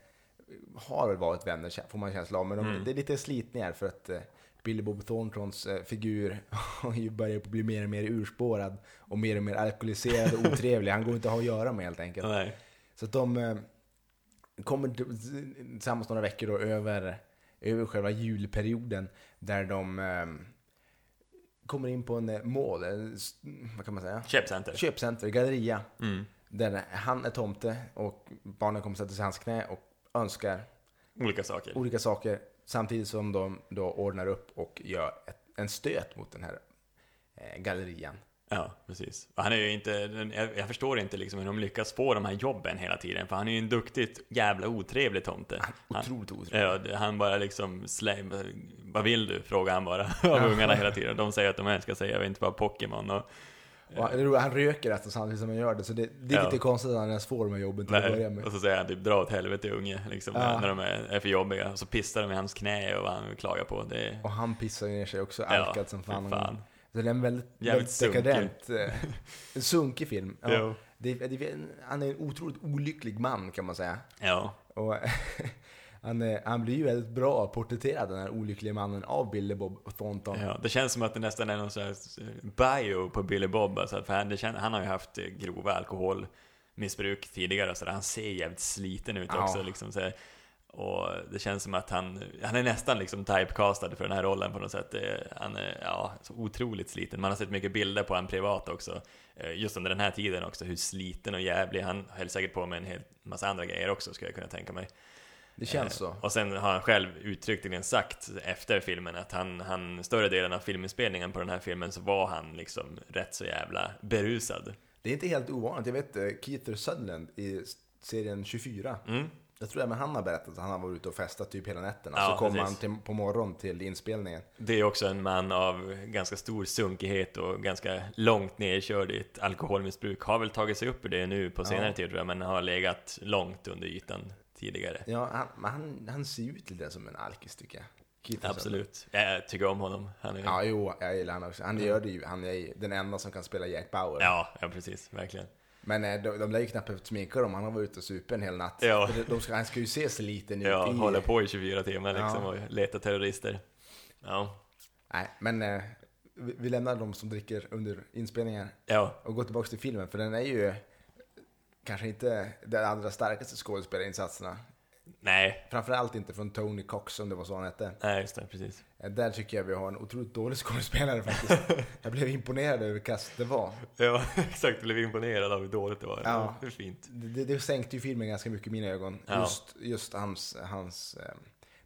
[SPEAKER 2] har väl varit vänner kä- får man känsla av. Men de, det är lite slitningar för att eh, Billy Bob Thorntons eh, figur har ju börjar bli mer och mer urspårad. Och mer och mer alkoholiserad och otrevlig. Han går inte att ha att göra med helt enkelt.
[SPEAKER 1] Nej.
[SPEAKER 2] Så att de eh, kommer t- tillsammans några veckor då över, över själva julperioden där de eh, kommer in på en eh, mall, en s- vad kan man säga?
[SPEAKER 1] Köpcenter.
[SPEAKER 2] Köpcenter, galleria.
[SPEAKER 1] Mm.
[SPEAKER 2] Där han är tomte och barnen kommer sätta sig i hans knä och önskar
[SPEAKER 1] Olika saker.
[SPEAKER 2] olika saker samtidigt som de då ordnar upp och gör ett, en stöt mot den här eh, gallerian.
[SPEAKER 1] Ja, precis. Och Han är ju inte, den- jag jag förstår inte liksom hur de lyckas få de här jobben hela tiden, för han är ju en duktigt jävla otrevlig tomte. Han,
[SPEAKER 2] Otroligt otroligt.
[SPEAKER 1] ja, det- han bara liksom, släng, vad vill du? Frågar han bara av ungarna hela tiden. De säger att de älskar sig, jag vet inte, bara Pokémon och...
[SPEAKER 2] Och han, det är roligt, han röker alltså samtidigt som han gör det, så det, det är
[SPEAKER 1] Ja.
[SPEAKER 2] lite konstigt att han ens får de här jobben till att börja
[SPEAKER 1] Nej,
[SPEAKER 2] med.
[SPEAKER 1] och så säger han typ dra åt helvete unge, liksom,
[SPEAKER 2] Ja.
[SPEAKER 1] när de är, är för jobbiga. Och så pissar de i hans knä och han klagar på det.
[SPEAKER 2] Och han pissar ner sig också,
[SPEAKER 1] Ja,
[SPEAKER 2] alkad som
[SPEAKER 1] fy
[SPEAKER 2] fan.
[SPEAKER 1] fan.
[SPEAKER 2] Så det är en väldigt,
[SPEAKER 1] Jävligt
[SPEAKER 2] väldigt dekadent, eh, en sunkig film.
[SPEAKER 1] Jo.
[SPEAKER 2] Ja. Det, det, är en- han är en otroligt olycklig man kan man säga.
[SPEAKER 1] Ja,
[SPEAKER 2] Och han, är, han blir ju väldigt bra porträtterad, den här olyckliga mannen, av Billy Bob Thornton.
[SPEAKER 1] ja, det känns som att det nästan är någon slags eh, bio på Billy Bob. Alltså, för han, det kän, han har ju haft eh, grova alkoholmissbruk tidigare, så där, han ser jävligt sliten ut
[SPEAKER 2] Ja.
[SPEAKER 1] också. Liksom, så här. Och det känns som att han, han är nästan liksom typecastad för den här rollen på något sätt. Det- Han är ja, så otroligt sliten. Man har sett mycket bilder på honom privat också. eh, Just under den här tiden också, hur sliten och jävlig. Han höll säkert på med en hel massa andra grejer också, skulle jag kunna tänka mig.
[SPEAKER 2] Det känns
[SPEAKER 1] Eh,
[SPEAKER 2] så.
[SPEAKER 1] Och sen har han själv uttryckligen sagt efter filmen att han, han större delen av filminspelningen på den här filmen så var han liksom rätt så jävla berusad.
[SPEAKER 2] Det är inte helt ovanligt. Jag vet eh, Keith Sutherland i s- serien 24.
[SPEAKER 1] Mm.
[SPEAKER 2] Jag tror även han har berättat att han har varit ute och festat typ hela nätterna.
[SPEAKER 1] Ja,
[SPEAKER 2] så kom
[SPEAKER 1] precis.
[SPEAKER 2] han till, på morgonen till inspelningen.
[SPEAKER 1] Det är också en man av ganska stor sunkighet och ganska långt nerkörd i ett alkoholmissbruk. Har väl tagit sig upp ur det nu på senare tid tror jag, men har legat långt under ytan tidigare.
[SPEAKER 2] Ja, han, men han, han ser ju ut lite som en alkis tycker jag. Keith Sutherland.
[SPEAKER 1] Absolut. Jag tycker om honom. Han är... ja.
[SPEAKER 2] Ja, jo, jag gillar han också. Han gör det ju. Han är ju den enda som kan spela Jack Bauer.
[SPEAKER 1] Ja, precis. Verkligen.
[SPEAKER 2] Men eh, de, de lär ju knappt behövt sminka dem. Han har varit ute och super en hel natt.
[SPEAKER 1] Ja.
[SPEAKER 2] För De ska, han ska ju se sig liten ut.
[SPEAKER 1] Ja,
[SPEAKER 2] i-
[SPEAKER 1] håller på i 24 timmar
[SPEAKER 2] Ja.
[SPEAKER 1] liksom och letar terrorister. Ja.
[SPEAKER 2] Nej, men eh, vi, vi lämnar dem som dricker under inspelningar
[SPEAKER 1] Ja,
[SPEAKER 2] och går tillbaka till filmen. För den är ju eh, kanske inte den allra starkaste skådespelarinsatserna.
[SPEAKER 1] nej.
[SPEAKER 2] Framförallt inte från Tony Cox om det var så han hette.
[SPEAKER 1] Nej, just det. Precis.
[SPEAKER 2] Eh, Där tycker jag vi har en otroligt dålig skådespelare faktiskt. jag blev imponerad över hur kass det var.
[SPEAKER 1] Ja, exakt. Blev imponerad av hur dåligt det var.
[SPEAKER 2] Ja.
[SPEAKER 1] Hur fint.
[SPEAKER 2] Det, det- det sänkte ju filmen ganska mycket i mina ögon.
[SPEAKER 1] Ja.
[SPEAKER 2] Just, just hans, hans eh,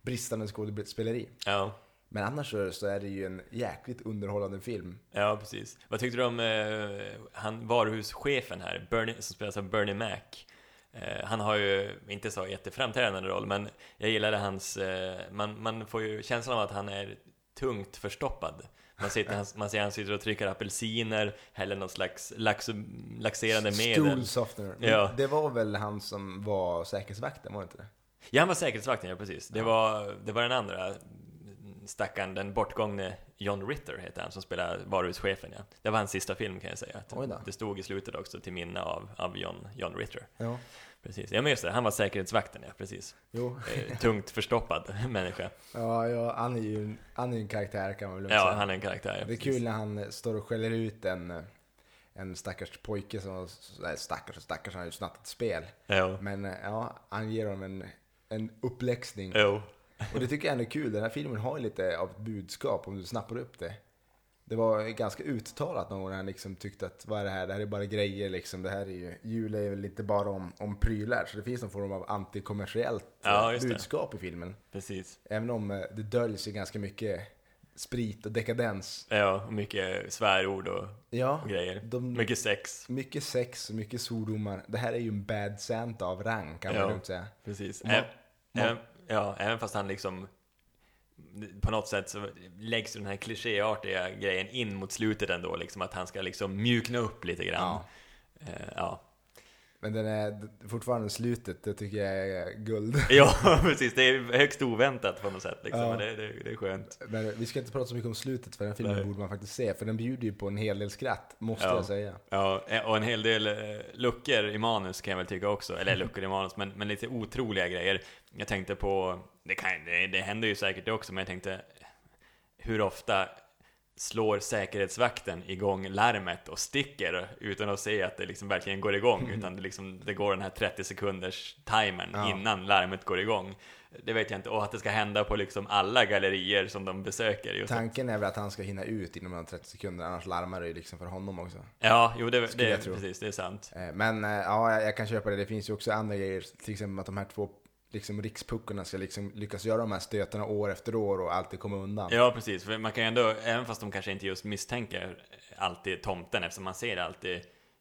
[SPEAKER 2] bristande skådespeleri.
[SPEAKER 1] Ja,
[SPEAKER 2] Men annars så- så är det ju en jäkligt underhållande film.
[SPEAKER 1] ja precis. Vad tyckte du om eh, han, varuhuschefen här, Bernie, som spelas av Bernie Mac? Eh, han har ju inte så jätteframträdande roll, men jag gillade hans... Eh, man, man får ju känslan av att han är tungt förstoppad. Man, sitter, han, man ser han sitter och trycker apelsiner, häller någon slags lax, laxerande medel.
[SPEAKER 2] Stool softener.
[SPEAKER 1] Ja.
[SPEAKER 2] Det var väl han som var säkerhetsvakten, var det inte det?
[SPEAKER 1] Ja, han var säkerhetsvakten, ja precis. Det, var, det var den andra stackaren, den bortgångne John Ritter heter han, som spelar varuhuschefen. Ja. Det var hans sista film kan jag säga. Att
[SPEAKER 2] Oj då.
[SPEAKER 1] det stod i slutet också till minne av, av John, John Ritter.
[SPEAKER 2] Ja.
[SPEAKER 1] Precis. Ja, men just det, han var säkerhetsvakten, ja precis.
[SPEAKER 2] Jo.
[SPEAKER 1] Eh, Tungt förstoppad människa.
[SPEAKER 2] Ja, ja han är ju en, han är ju en karaktär kan man väl lugnt
[SPEAKER 1] Ja,
[SPEAKER 2] säga.
[SPEAKER 1] han är en karaktär. Ja,
[SPEAKER 2] det är
[SPEAKER 1] precis.
[SPEAKER 2] kul när han eh, står och skäller ut en, eh, en stackars pojke som, nej stackars och stackars, han har ju snattat spel.
[SPEAKER 1] Jo.
[SPEAKER 2] Men eh, ja, han ger dem en, en uppläxning.
[SPEAKER 1] Jo.
[SPEAKER 2] Och det tycker jag ändå är kul. Den här filmen har ju lite av ett budskap om du snappar upp det. Det var ganska uttalat någon gång när han liksom tyckte att vad är det här? Det här är bara grejer liksom. Det här är ju, jul är väl inte bara om, om prylar. Så det finns någon form av antikommersiellt eh,
[SPEAKER 1] Ja, just det.
[SPEAKER 2] budskap i filmen.
[SPEAKER 1] Precis.
[SPEAKER 2] Även om eh, det döljs ju ganska mycket sprit och dekadens.
[SPEAKER 1] Ja, och mycket svärord och,
[SPEAKER 2] Ja,
[SPEAKER 1] och grejer.
[SPEAKER 2] de-
[SPEAKER 1] Mycket sex.
[SPEAKER 2] mycket sex och mycket svordomar. Det här är ju en bad Santa av rang kan man
[SPEAKER 1] Ja.
[SPEAKER 2] lugnt säga.
[SPEAKER 1] Precis.
[SPEAKER 2] Ma-
[SPEAKER 1] Även, även, ja, även fast han liksom på något sätt så läggs ju den här klichéartiga grejen in mot slutet ändå, liksom att han ska liksom mjukna upp lite grann. Ja, ja.
[SPEAKER 2] Men den är d- fortfarande slutet, det tycker jag är guld.
[SPEAKER 1] ja precis. Det är högst oväntat på något sätt, liksom.
[SPEAKER 2] Ja.
[SPEAKER 1] men det, det, det är skönt.
[SPEAKER 2] Men vi ska inte prata så mycket om slutet för den filmen
[SPEAKER 1] Nej.
[SPEAKER 2] borde man faktiskt se. För den bjuder ju på en hel del skratt, måste
[SPEAKER 1] Ja.
[SPEAKER 2] jag säga.
[SPEAKER 1] Ja, och en hel del eh, luckor i manus kan jag väl tycka också, eller luckor i manus, men, men lite otroliga grejer. Jag tänkte på, det, kan, det, det händer ju säkert det också, men jag tänkte hur ofta slår säkerhetsvakten igång larmet och sticker utan att se att det liksom verkligen går igång, utan det, liksom, det går den här 30 sekunders timern
[SPEAKER 2] Mm. Ja.
[SPEAKER 1] innan larmet går igång. Det vet jag inte, och att det ska hända på liksom alla gallerier som de besöker. Just att-
[SPEAKER 2] Tanken är väl att han ska hinna ut inom de 30 sekunder, annars larmar det ju liksom för honom också.
[SPEAKER 1] Ja, jo, det,
[SPEAKER 2] Skulle
[SPEAKER 1] det,
[SPEAKER 2] jag tro.
[SPEAKER 1] precis, det är sant.
[SPEAKER 2] Eh, Men eh, ja, jag- jag kan köpa det. Det finns ju också andra grejer, till exempel att de här två liksom, rikspuckorna ska liksom lyckas göra de här stötarna år efter år och alltid komma undan.
[SPEAKER 1] Ja, precis. För man kan ju ändå, även fast de kanske inte just misstänker alltid tomten, eftersom man ser alltid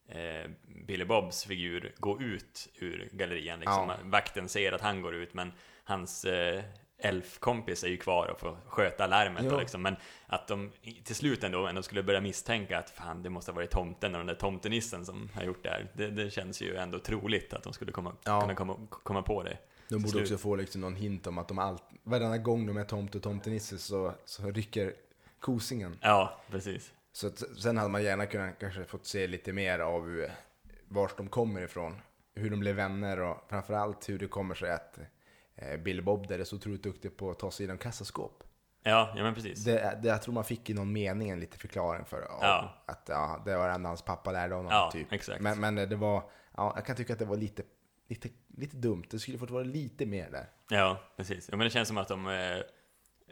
[SPEAKER 1] eh, Billy Bobs figur gå ut ur gallerian. Liksom.
[SPEAKER 2] Ja.
[SPEAKER 1] Vakten ser att han går ut, men hans eh, elfkompis är ju kvar och får sköta larmet.
[SPEAKER 2] Jo.
[SPEAKER 1] Och liksom. Men att de i- till slut ändå, ändå skulle börja misstänka att fan, det måste ha varit tomten och den där tomtenissen som har gjort det här. Det, det känns ju ändå troligt att de skulle komma,
[SPEAKER 2] Ja.
[SPEAKER 1] kunna komma, komma på det.
[SPEAKER 2] De borde
[SPEAKER 1] Slut.
[SPEAKER 2] också få liksom någon hint om att de allt, varenda gång de är tomt och tomtenisse så, så rycker kosingen.
[SPEAKER 1] Ja, precis.
[SPEAKER 2] Så att, sen hade man gärna kunnat kanske fått se lite mer av eh, vart de kommer ifrån. Hur de blev vänner och framförallt hur det kommer sig att eh, Bill Bob där är så otroligt duktig på att ta sig igenom kassaskåp.
[SPEAKER 1] Ja, ja men precis.
[SPEAKER 2] Det, det, jag tror man fick i någon mening en liten förklaring för ja,
[SPEAKER 1] Ja.
[SPEAKER 2] att ja, det var ändå hans pappa lärde honom.
[SPEAKER 1] Ja,
[SPEAKER 2] typ.
[SPEAKER 1] exakt.
[SPEAKER 2] Men, men det var, ja, jag kan tycka att det var lite, lite, lite dumt. Det skulle fått vara lite mer där.
[SPEAKER 1] Ja, precis. Ja, men det känns som att de... eh,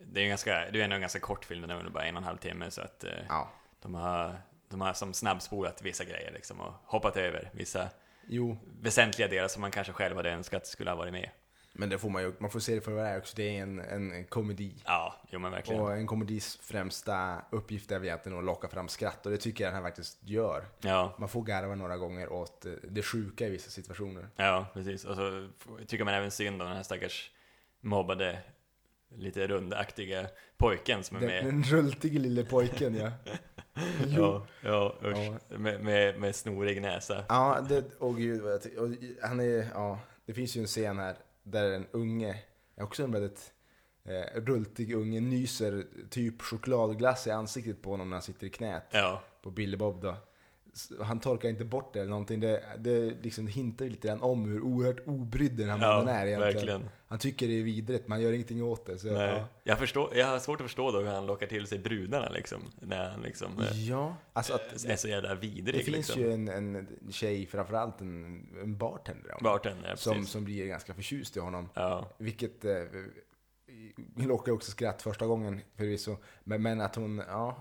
[SPEAKER 1] Det är ju ganska, det är ju ändå en ganska kort film, den är väl bara en och en halv timme, så att eh,
[SPEAKER 2] Ja.
[SPEAKER 1] de, har, de har som snabbspolat vissa grejer liksom och hoppat över vissa
[SPEAKER 2] Jo,
[SPEAKER 1] väsentliga delar som man kanske själv hade önskat skulle ha varit med.
[SPEAKER 2] men det får man ju, man får se det för vad det är också. Det är en, en komedi.
[SPEAKER 1] Ja, jo men verkligen.
[SPEAKER 2] Och en komedis främsta uppgift är väl egentligen att locka fram skratt och det tycker jag den här faktiskt gör.
[SPEAKER 1] Ja,
[SPEAKER 2] Man får garva några gånger åt eh, det sjuka i vissa situationer.
[SPEAKER 1] ja, precis. Och så f- tycker man även synd om den här stackars mobbade, lite rundaktiga pojken som är
[SPEAKER 2] Den,
[SPEAKER 1] med.
[SPEAKER 2] den rultige lille pojken ja. Jo.
[SPEAKER 1] Ja, ja, usch. Med, med, med snorig näsa.
[SPEAKER 2] Ja, det, och gud vad jag ty- och han är, ja, Det finns ju en scen här där en unge, också en väldigt eh, rultig unge, nyser typ chokladglass i ansiktet på honom när han sitter i knät
[SPEAKER 1] Ja,
[SPEAKER 2] på Billy Bob då. S- Han torkar inte bort det eller någonting. Det, det liksom hintar ju lite grann om hur oerhört obrydd den här
[SPEAKER 1] ja
[SPEAKER 2] mannen är egentligen.
[SPEAKER 1] verkligen.
[SPEAKER 2] Han tycker det är vidrigt, man gör ingenting åt det. Så,
[SPEAKER 1] Nej.
[SPEAKER 2] ja.
[SPEAKER 1] Jag, förstår, jag har svårt att förstå då hur han lockar till sig brudarna liksom, när han liksom eh,
[SPEAKER 2] ja, alltså att det,
[SPEAKER 1] är så jävla vidrig.
[SPEAKER 2] finns
[SPEAKER 1] liksom.
[SPEAKER 2] ju en, en tjej, framförallt en, en bartender, ja,
[SPEAKER 1] Bartender, ja,
[SPEAKER 2] som,
[SPEAKER 1] precis.
[SPEAKER 2] som blir ganska förtjust i honom.
[SPEAKER 1] Ja,
[SPEAKER 2] Vilket eh, lockar också skratt första gången förvisso. Men, men att hon, ja,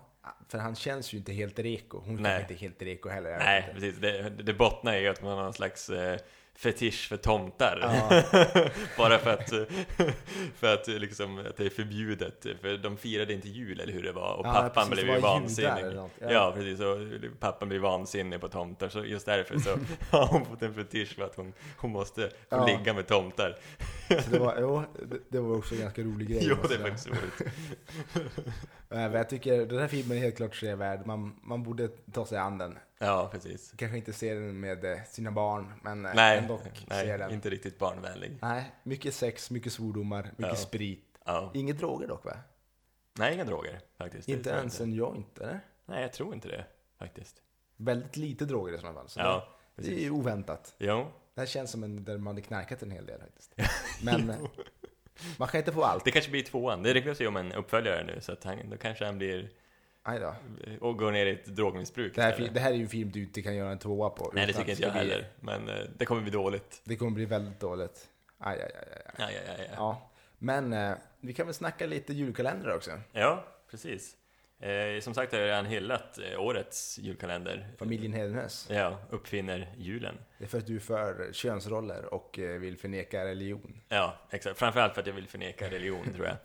[SPEAKER 2] för han känns ju inte helt reko. Hon kanske
[SPEAKER 1] Nej.
[SPEAKER 2] inte är helt reko heller. jag vet
[SPEAKER 1] nej,
[SPEAKER 2] inte.
[SPEAKER 1] precis. Det, det bottnar ju i att man har någon slags eh, fetisch för tomtar.
[SPEAKER 2] Ja.
[SPEAKER 1] Bara för att, eh, för att, eh, liksom, att det är förbjudet. eh, För de firade inte jul, eller hur det var. Och
[SPEAKER 2] Ja,
[SPEAKER 1] pappan
[SPEAKER 2] precis,
[SPEAKER 1] blev
[SPEAKER 2] det
[SPEAKER 1] ju
[SPEAKER 2] var judar
[SPEAKER 1] vansinnig.
[SPEAKER 2] eller något, ja.
[SPEAKER 1] ja. precis. Och pappan blev vansinnig på tomtar. Så just därför så har hon fått en fetisch för att hon, hon måste få
[SPEAKER 2] Ja.
[SPEAKER 1] ligga med tomtar.
[SPEAKER 2] Så det var, jo, det, det var också en ganska rolig grej.
[SPEAKER 1] Jo,
[SPEAKER 2] måste
[SPEAKER 1] det är
[SPEAKER 2] jag
[SPEAKER 1] faktiskt roligt.
[SPEAKER 2] säga. Eh, men Jag tycker den här filmen är helt klart sevärd. Man, man borde ta sig an den.
[SPEAKER 1] Ja, precis.
[SPEAKER 2] Kanske inte se den med eh, sina barn, men eh,
[SPEAKER 1] Nej,
[SPEAKER 2] ändå se
[SPEAKER 1] nej
[SPEAKER 2] den.
[SPEAKER 1] inte riktigt barnvänlig.
[SPEAKER 2] Nej, mycket sex, mycket svordomar, mycket
[SPEAKER 1] Ja.
[SPEAKER 2] sprit.
[SPEAKER 1] Ja.
[SPEAKER 2] Inga droger dock va?
[SPEAKER 1] Nej, inga droger faktiskt. Det
[SPEAKER 2] inte
[SPEAKER 1] tror jag
[SPEAKER 2] ens en joint, eller?
[SPEAKER 1] Nej, jag tror inte det faktiskt.
[SPEAKER 2] Väldigt lite droger i sådana fall. Så
[SPEAKER 1] Ja,
[SPEAKER 2] det, det är ju oväntat.
[SPEAKER 1] Jo,
[SPEAKER 2] Det här känns som en där man hade knarkat en hel del faktiskt. Men eh, man kan inte få allt.
[SPEAKER 1] det kanske blir tvåan. Det ryktas ju om en uppföljare nu, så att han, då kanske han blir
[SPEAKER 2] Aj då.
[SPEAKER 1] och går ner i ett drogmissbruk
[SPEAKER 2] Det, här, är
[SPEAKER 1] istället.
[SPEAKER 2] fi- det här är ju en film du inte kan göra en tvåa på.
[SPEAKER 1] Nej, det
[SPEAKER 2] utan
[SPEAKER 1] tycker inte
[SPEAKER 2] det
[SPEAKER 1] jag
[SPEAKER 2] blir-
[SPEAKER 1] heller. Men eh, det kommer bli dåligt.
[SPEAKER 2] Det kommer bli väldigt dåligt. Aj, aj, aj, aj, aj.
[SPEAKER 1] Ja, ja, ja, ja.
[SPEAKER 2] Ja. Men eh, vi kan väl snacka lite julkalendrar också.
[SPEAKER 1] ja precis. Eh, som sagt har jag redan hyllat eh, årets julkalender.
[SPEAKER 2] Familjen Hedenäs.
[SPEAKER 1] Ja, uppfinner julen.
[SPEAKER 2] Det är för att du är för könsroller och eh, vill förneka religion.
[SPEAKER 1] Ja, exakt. Framförallt för att jag vill förneka religion, tror jag.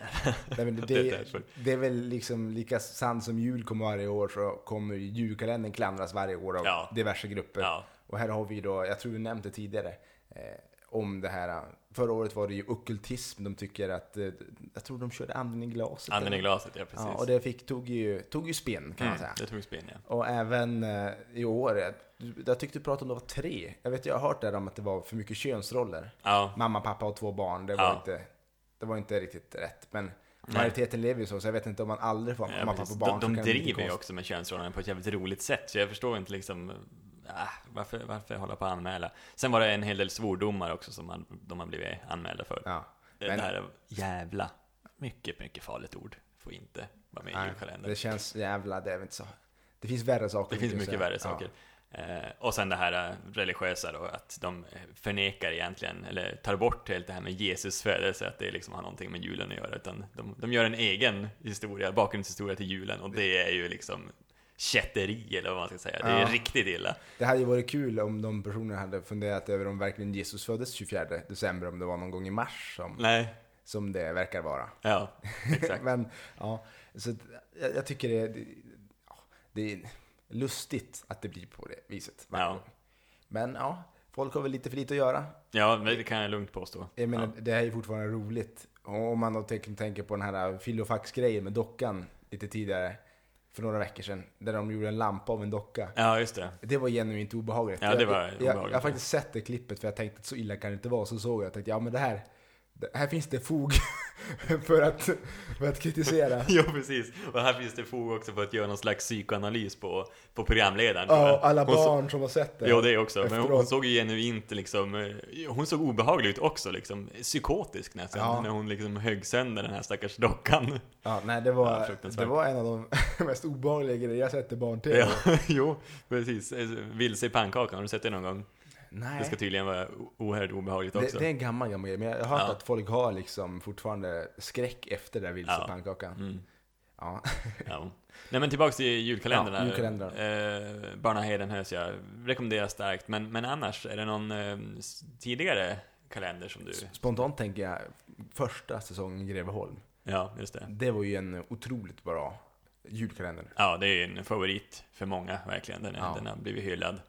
[SPEAKER 2] Nej, men det,
[SPEAKER 1] Det är
[SPEAKER 2] det,
[SPEAKER 1] därför.
[SPEAKER 2] är väl liksom lika sant som jul kommer varje år så kommer ju julkalendern klandras varje år av
[SPEAKER 1] Ja.
[SPEAKER 2] diverse grupper.
[SPEAKER 1] Ja,
[SPEAKER 2] Och här har vi då, jag tror vi nämnde tidigare, eh, om det här. eh, Förra året var det ju ockultism. De tycker att, eh, jag tror de körde anden i glaset.
[SPEAKER 1] anden i
[SPEAKER 2] Typ eller?
[SPEAKER 1] glaset, ja precis.
[SPEAKER 2] Ja, och det fick, tog, ju, tog ju spinn kan man säga.
[SPEAKER 1] Mm, det tog spinn, ja.
[SPEAKER 2] Och även eh, i år, eh, du- jag tyckte du pratade om det var tre. Jag vet, jag har hört det här om att det var för mycket könsroller.
[SPEAKER 1] Ja,
[SPEAKER 2] Mamma, pappa och två barn, det var,
[SPEAKER 1] Ja.
[SPEAKER 2] inte, det var inte riktigt rätt. Men majoriteten lever ju så, så jag vet inte om man aldrig får
[SPEAKER 1] ja
[SPEAKER 2] mamma,
[SPEAKER 1] precis.
[SPEAKER 2] pappa och barn. så
[SPEAKER 1] de, de
[SPEAKER 2] kan det bli lite
[SPEAKER 1] driver ju
[SPEAKER 2] konstigt.
[SPEAKER 1] också med könsrollerna på ett jävligt roligt sätt, så jag förstår inte liksom äh, varför, varför hålla på att anmäla? Sen var det en hel del svordomar också som man, de har blivit anmälda för.
[SPEAKER 2] Ja.
[SPEAKER 1] Det
[SPEAKER 2] Men-
[SPEAKER 1] där jävla, mycket, mycket farligt ord. Får inte vara med i
[SPEAKER 2] Nej,
[SPEAKER 1] julkalendern.
[SPEAKER 2] det känns jävla, det är väl inte så. Det finns värre saker.
[SPEAKER 1] Det finns
[SPEAKER 2] kan
[SPEAKER 1] mycket
[SPEAKER 2] jag
[SPEAKER 1] värre
[SPEAKER 2] säga.
[SPEAKER 1] saker. Eh, och sen det här eh, religiösa då, att de eh, förnekar egentligen, eller tar bort helt det här med Jesus födelse, att det liksom har någonting med julen att göra, utan de, de gör en egen historia, bakgrundshistoria till julen, och det är ju liksom kätteri, eller vad man ska säga. Det är
[SPEAKER 2] Ja.
[SPEAKER 1] riktigt illa.
[SPEAKER 2] Ja. Det hade ju varit kul om de personerna hade funderat över om verkligen Jesus föddes 24 december, om det var någon gång i mars som,
[SPEAKER 1] Nej,
[SPEAKER 2] som det verkar vara.
[SPEAKER 1] ja, exakt.
[SPEAKER 2] Men ja, så att jag, jag tycker det, det, ja, det är lustigt att det blir på det viset. varje
[SPEAKER 1] Ja.
[SPEAKER 2] gång. Men ja, folk har väl lite för lite att göra.
[SPEAKER 1] Ja, men det kan jag lugnt påstå.
[SPEAKER 2] Jag menar,
[SPEAKER 1] ja.
[SPEAKER 2] det här är ju fortfarande roligt. Och Om man då tänker, tänker på den här filofax-grejen med dockan lite tidigare, för några veckor sedan, där de gjorde en lampa av en docka.
[SPEAKER 1] ja, just det.
[SPEAKER 2] Det var genuint obehagligt.
[SPEAKER 1] Ja, det var
[SPEAKER 2] jag, jag, jag,
[SPEAKER 1] obehagligt,
[SPEAKER 2] jag har
[SPEAKER 1] ja.
[SPEAKER 2] faktiskt sett det klippet för jag tänkte att så illa kan det inte vara. Så såg jag och tänkte, ja men det här, det, här finns det fog för, att, för att kritisera.
[SPEAKER 1] Ja, precis. Och här finns det fog också för att göra någon slags psykoanalys på, på programledaren.
[SPEAKER 2] Ja, och alla
[SPEAKER 1] Hon så-
[SPEAKER 2] barn som har sett det.
[SPEAKER 1] Ja, det också. Men hon, hon
[SPEAKER 2] Efteråt.
[SPEAKER 1] såg ju genuint liksom, eh, hon såg obehaglig ut också liksom, psykotisk nästan,
[SPEAKER 2] Ja.
[SPEAKER 1] när hon liksom högg sönder den här stackars dockan.
[SPEAKER 2] Ja, nej, det var,
[SPEAKER 1] Ja, fruktansvärt.
[SPEAKER 2] det var en av de mest obehagliga grejer jag sett i barn-tv.
[SPEAKER 1] Ja, jo, precis. Eh, Vilse i pannkakan, har du sett det någon gång? Det
[SPEAKER 2] Nej,
[SPEAKER 1] ska tydligen vara o- oerhört obehagligt
[SPEAKER 2] det,
[SPEAKER 1] också.
[SPEAKER 2] det är en gammal, gammal grej. Men jag har hört
[SPEAKER 1] Ja.
[SPEAKER 2] att folk har liksom fortfarande skräck efter det där vilse
[SPEAKER 1] Ja.
[SPEAKER 2] pannkakan.
[SPEAKER 1] Mm,
[SPEAKER 2] Ja.
[SPEAKER 1] ja. Nej men tillbaks till julkalendern.
[SPEAKER 2] Ja,
[SPEAKER 1] där.
[SPEAKER 2] julkalendern.
[SPEAKER 1] Eh, Barna Hedenhös, jag rekommenderar starkt. Men, men annars, är det någon eh, s- tidigare kalender som du...
[SPEAKER 2] Spontant tänker jag, första säsongen i Greveholm.
[SPEAKER 1] Ja, just det.
[SPEAKER 2] Det var ju en otroligt bra julkalender.
[SPEAKER 1] Ja, det är ju en favorit för många verkligen. Den, är,
[SPEAKER 2] Ja.
[SPEAKER 1] den har blivit hyllad.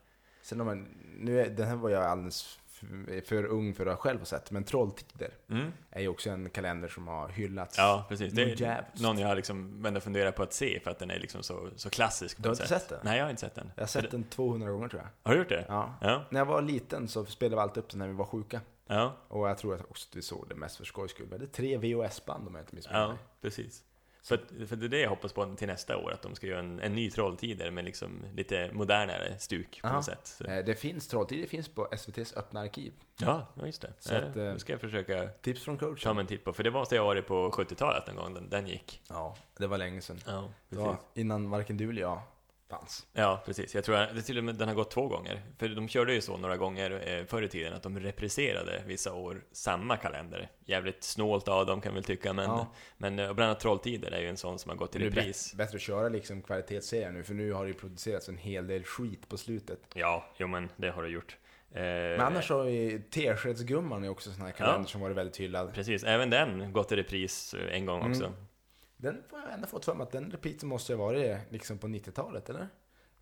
[SPEAKER 2] Sen har man, nu är, den här var jag alldeles för, för ung för att själv ha sett, men Trolltider
[SPEAKER 1] Mm.
[SPEAKER 2] är ju också en kalender som har hyllats.
[SPEAKER 1] Ja, precis. Det
[SPEAKER 2] Något
[SPEAKER 1] är
[SPEAKER 2] jävligt.
[SPEAKER 1] någon jag har liksom ändå funderat på att se för att den är liksom så, så klassisk. på
[SPEAKER 2] Du har
[SPEAKER 1] något
[SPEAKER 2] inte
[SPEAKER 1] sätt.
[SPEAKER 2] sett den?
[SPEAKER 1] Nej, jag har inte sett den.
[SPEAKER 2] Jag har sett den 200 gånger tror jag.
[SPEAKER 1] Har du gjort det?
[SPEAKER 2] Ja.
[SPEAKER 1] Ja.
[SPEAKER 2] När jag var liten så spelade vi alltid upp den när vi var sjuka.
[SPEAKER 1] Ja,
[SPEAKER 2] Och jag tror att också att vi såg det mest för skojs skull. Men Det är tre VHS-band om jag inte missminner
[SPEAKER 1] ja
[SPEAKER 2] mig.
[SPEAKER 1] precis. För, att- för det är det jag hoppas på till nästa år, att de ska göra en, en ny Trolltider med liksom lite modernare stuk på
[SPEAKER 2] Ja.
[SPEAKER 1] något sätt. Så,
[SPEAKER 2] Eh, Det finns Trolltider finns på SVTs öppna arkiv.
[SPEAKER 1] ja, ja, just det.
[SPEAKER 2] Så
[SPEAKER 1] Ja,
[SPEAKER 2] att, eh,
[SPEAKER 1] det ska jag försöka
[SPEAKER 2] Tips från
[SPEAKER 1] ta
[SPEAKER 2] coachen.
[SPEAKER 1] mig en titt på, för det var så jag var det på 70-talet någon gång den, den gick.
[SPEAKER 2] Ja, det var länge sedan.
[SPEAKER 1] Ja,
[SPEAKER 2] Det
[SPEAKER 1] precis.
[SPEAKER 2] var innan varken du eller jag fanns.
[SPEAKER 1] Ja, precis. Jag tror att det till och med den har gått två gånger. För de körde ju så några gånger eh, förr i tiden att de repriserade vissa år samma kalender. Jävligt snålt av dem kan jag väl tycka, men,
[SPEAKER 2] Ja.
[SPEAKER 1] men eh, och bland annat Trolltider är ju en sån som har gått i
[SPEAKER 2] Det är bättre-
[SPEAKER 1] repris.
[SPEAKER 2] bättre att köra liksom kvalitetsserier nu, för nu har det ju producerats en hel del skit på slutet.
[SPEAKER 1] Ja, jo men det har det gjort. Eh,
[SPEAKER 2] Men annars har vi Teskedsgumman är också sån här kalender som varit väldigt hyllad.
[SPEAKER 1] Precis, även den gått i repris eh, en
[SPEAKER 2] Mm.
[SPEAKER 1] gång också.
[SPEAKER 2] Den får jag ändå fått för mig att den repeaten måste ju ha varit liksom på 90-talet, eller?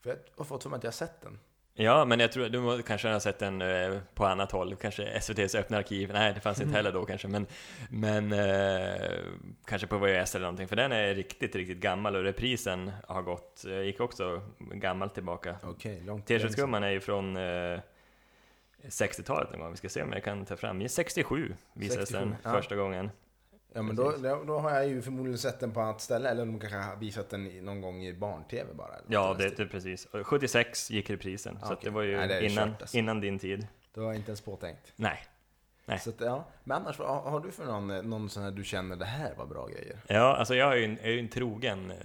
[SPEAKER 2] För jag har fått för mig att jag har sett den.
[SPEAKER 1] Ja, men jag tror du må- kanske har sett den eh, på annat håll, kanske SVTs öppna arkiv, nej det fanns
[SPEAKER 2] Mm.
[SPEAKER 1] inte heller då kanske, men, men eh, kanske på VHS eller någonting, för den är riktigt, riktigt gammal och reprisen har gått, eh, gick också gammalt tillbaka.
[SPEAKER 2] Okej, långt
[SPEAKER 1] Teskedsgumman är ju från eh, 60-talet någon gång, vi ska se om jag kan ta fram, 67 visades
[SPEAKER 2] 67,
[SPEAKER 1] den
[SPEAKER 2] ja.
[SPEAKER 1] första gången.
[SPEAKER 2] Ja, men då, då, då har jag ju förmodligen sett den på annat ställe, eller de kanske har visat den i- någon gång i barn-tv bara. eller
[SPEAKER 1] Ja,
[SPEAKER 2] något i den
[SPEAKER 1] det,
[SPEAKER 2] stilen.
[SPEAKER 1] det precis. Och 76 gick reprisen, så
[SPEAKER 2] Ja,
[SPEAKER 1] att det
[SPEAKER 2] okej.
[SPEAKER 1] var ju
[SPEAKER 2] Nej, det är
[SPEAKER 1] innan,
[SPEAKER 2] kört, alltså.
[SPEAKER 1] innan din tid.
[SPEAKER 2] Det var inte ens påtänkt.
[SPEAKER 1] Nej. Nej.
[SPEAKER 2] Så att, ja. Men annars, vad har har du för någon, eh, någon sån här du känner det här var bra grejer?
[SPEAKER 1] Ja, alltså jag är ju en, är ju en trogen eh,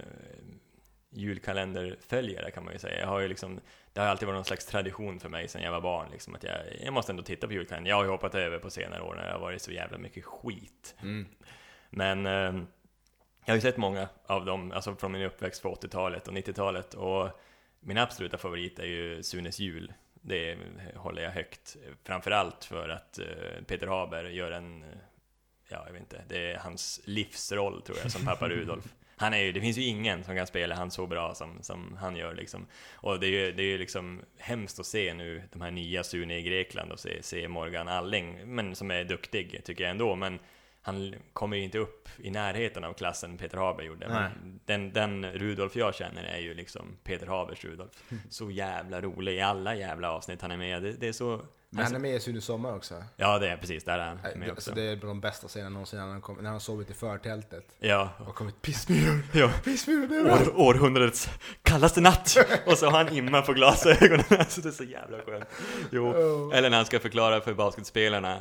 [SPEAKER 1] julkalenderföljare kan man ju säga. Jag har ju liksom, det har alltid varit någon slags tradition för mig sedan jag var barn, liksom, att jag, jag måste ändå titta på julkalendern. Jag har ju hoppat över på senare år när det har varit så jävla mycket skit. Men eh, jag har ju sett många av dem, alltså från min uppväxt på 80-talet och 90-talet. Och min absoluta favorit är ju Sunes jul. Det håller jag högt. Framförallt för att eh, Peter Haber gör en eh, ja, jag vet inte, det är hans livsroll tror jag som pappa Rudolf. Han är ju, det finns ju ingen som kan spela han så bra som, som han gör liksom. Och det är ju det är ju liksom hemskt att se nu de här nya Sune i Grekland och se, se Morgan Alling, men som är duktig tycker jag ändå, men han kommer ju inte upp i närheten av klassen Peter Haber gjorde. Men Den, den Rudolf jag känner är ju liksom Peter Habers Rudolf.
[SPEAKER 2] Mm.
[SPEAKER 1] Så jävla rolig i alla jävla avsnitt han är med. Det, det är så...
[SPEAKER 2] Men han är med i Sunes sommar också.
[SPEAKER 1] Ja, det Alltså- är precis, där är han
[SPEAKER 2] Nej,
[SPEAKER 1] med
[SPEAKER 2] det-
[SPEAKER 1] också.
[SPEAKER 2] Alltså, det är de bästa scenerna någonsin när han, kom, när han har sovit i förtältet.
[SPEAKER 1] Ja,
[SPEAKER 2] Och kommit pissmyror,
[SPEAKER 1] Oh. ja.
[SPEAKER 2] pissmyror det är bra.
[SPEAKER 1] År, århundradets kallaste natt! Och så har han imma på glasögonen, alltså det är så jävla skönt. Jo. Eller när han ska förklara för basketspelarna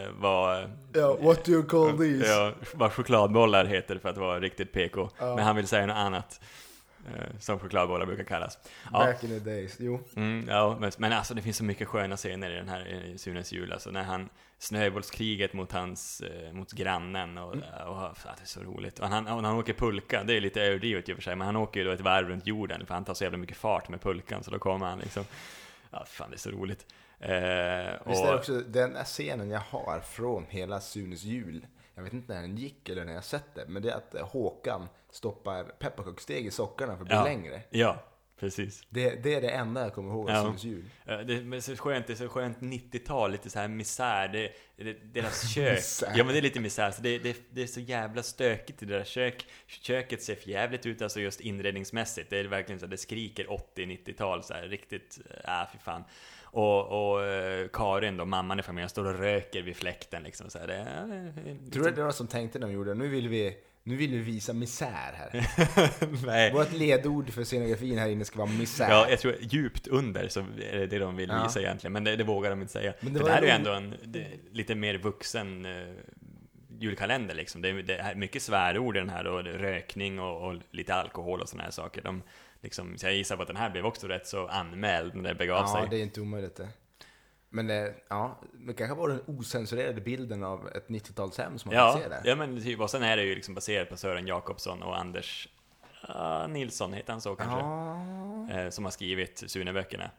[SPEAKER 1] eh, vad,
[SPEAKER 2] Ja, what do you call these?
[SPEAKER 1] ja, vad chokladbollar heter för att vara riktigt PK. Men han vill säga något annat, eh, som chokladbollar brukar kallas. Ja,
[SPEAKER 2] Back in the days. Jo.
[SPEAKER 1] mm, ja, men, men alltså det finns så mycket sköna scener i den här eh, Sunes jul, alltså när han snöbollskriget mot hans, eh, mot grannen
[SPEAKER 2] Mm.
[SPEAKER 1] och, och, och ja, det är så roligt. Och han, och när han åker pulka, det är lite överdrivet i och för sig, men han åker ju då ett varv runt jorden för han tar så jävla mycket fart med pulkan så då kommer han liksom, ja fan det är så roligt. Eh,
[SPEAKER 2] Visst är det
[SPEAKER 1] och,
[SPEAKER 2] också den här scenen jag har från hela Sunes jul. Jag vet inte när den gick eller när jag sett det, men det är att eh, Håkan stoppar pepparkaksdeg i sockarna för att bli
[SPEAKER 1] ja,
[SPEAKER 2] längre.
[SPEAKER 1] Ja, precis.
[SPEAKER 2] Det, det är det enda jag kommer ihåg av
[SPEAKER 1] Ja.
[SPEAKER 2] Sunes jul.
[SPEAKER 1] Eh, Det, men så skönt, det är så skönt 90-tal, lite så här misär, det, det, deras kök.
[SPEAKER 2] Misär.
[SPEAKER 1] Ja men det är lite misär, så det, det, det är så jävla stökigt i deras kök. Köket ser för jävligt ut, alltså just inredningsmässigt. Det är verkligen så här, det skriker 80-90-tal så här riktigt, äh fy fan. Och, och eh, Karin då, mamman i familjen, står och röker vid fläkten liksom. Så här, det, eh,
[SPEAKER 2] Tror du det var någon som tänkte när de gjorde det? Nu vill vi, nu vill vi visa misär här.
[SPEAKER 1] nej.
[SPEAKER 2] Vårt ledord för scenografin här inne ska vara misär.
[SPEAKER 1] Ja, jag tror djupt under så är det det de vill
[SPEAKER 2] Ja.
[SPEAKER 1] visa egentligen, men det, det vågar de inte säga.
[SPEAKER 2] Men det
[SPEAKER 1] För
[SPEAKER 2] var
[SPEAKER 1] det här är ju
[SPEAKER 2] ju-
[SPEAKER 1] ändå en det, lite mer vuxen eh, julkalender liksom. Det, är- det är mycket svärord i den här och det är rökning och, och lite alkohol och sådana här saker. De, liksom, så jag gissar på att den här blev också rätt så anmäld när det begav
[SPEAKER 2] Ja,
[SPEAKER 1] sig.
[SPEAKER 2] det är inte omöjligt det. Men eh, ja, det kanske var den osensurerade bilden av ett 90-talshem som man
[SPEAKER 1] Ja,
[SPEAKER 2] fick se där.
[SPEAKER 1] ja, men typ, och sen är det ju liksom baserat på Sören Jakobsson och Anders ah, Nilsson, heter han så kanske?
[SPEAKER 2] Ja.
[SPEAKER 1] Eh, som har skrivit Sune-böckerna.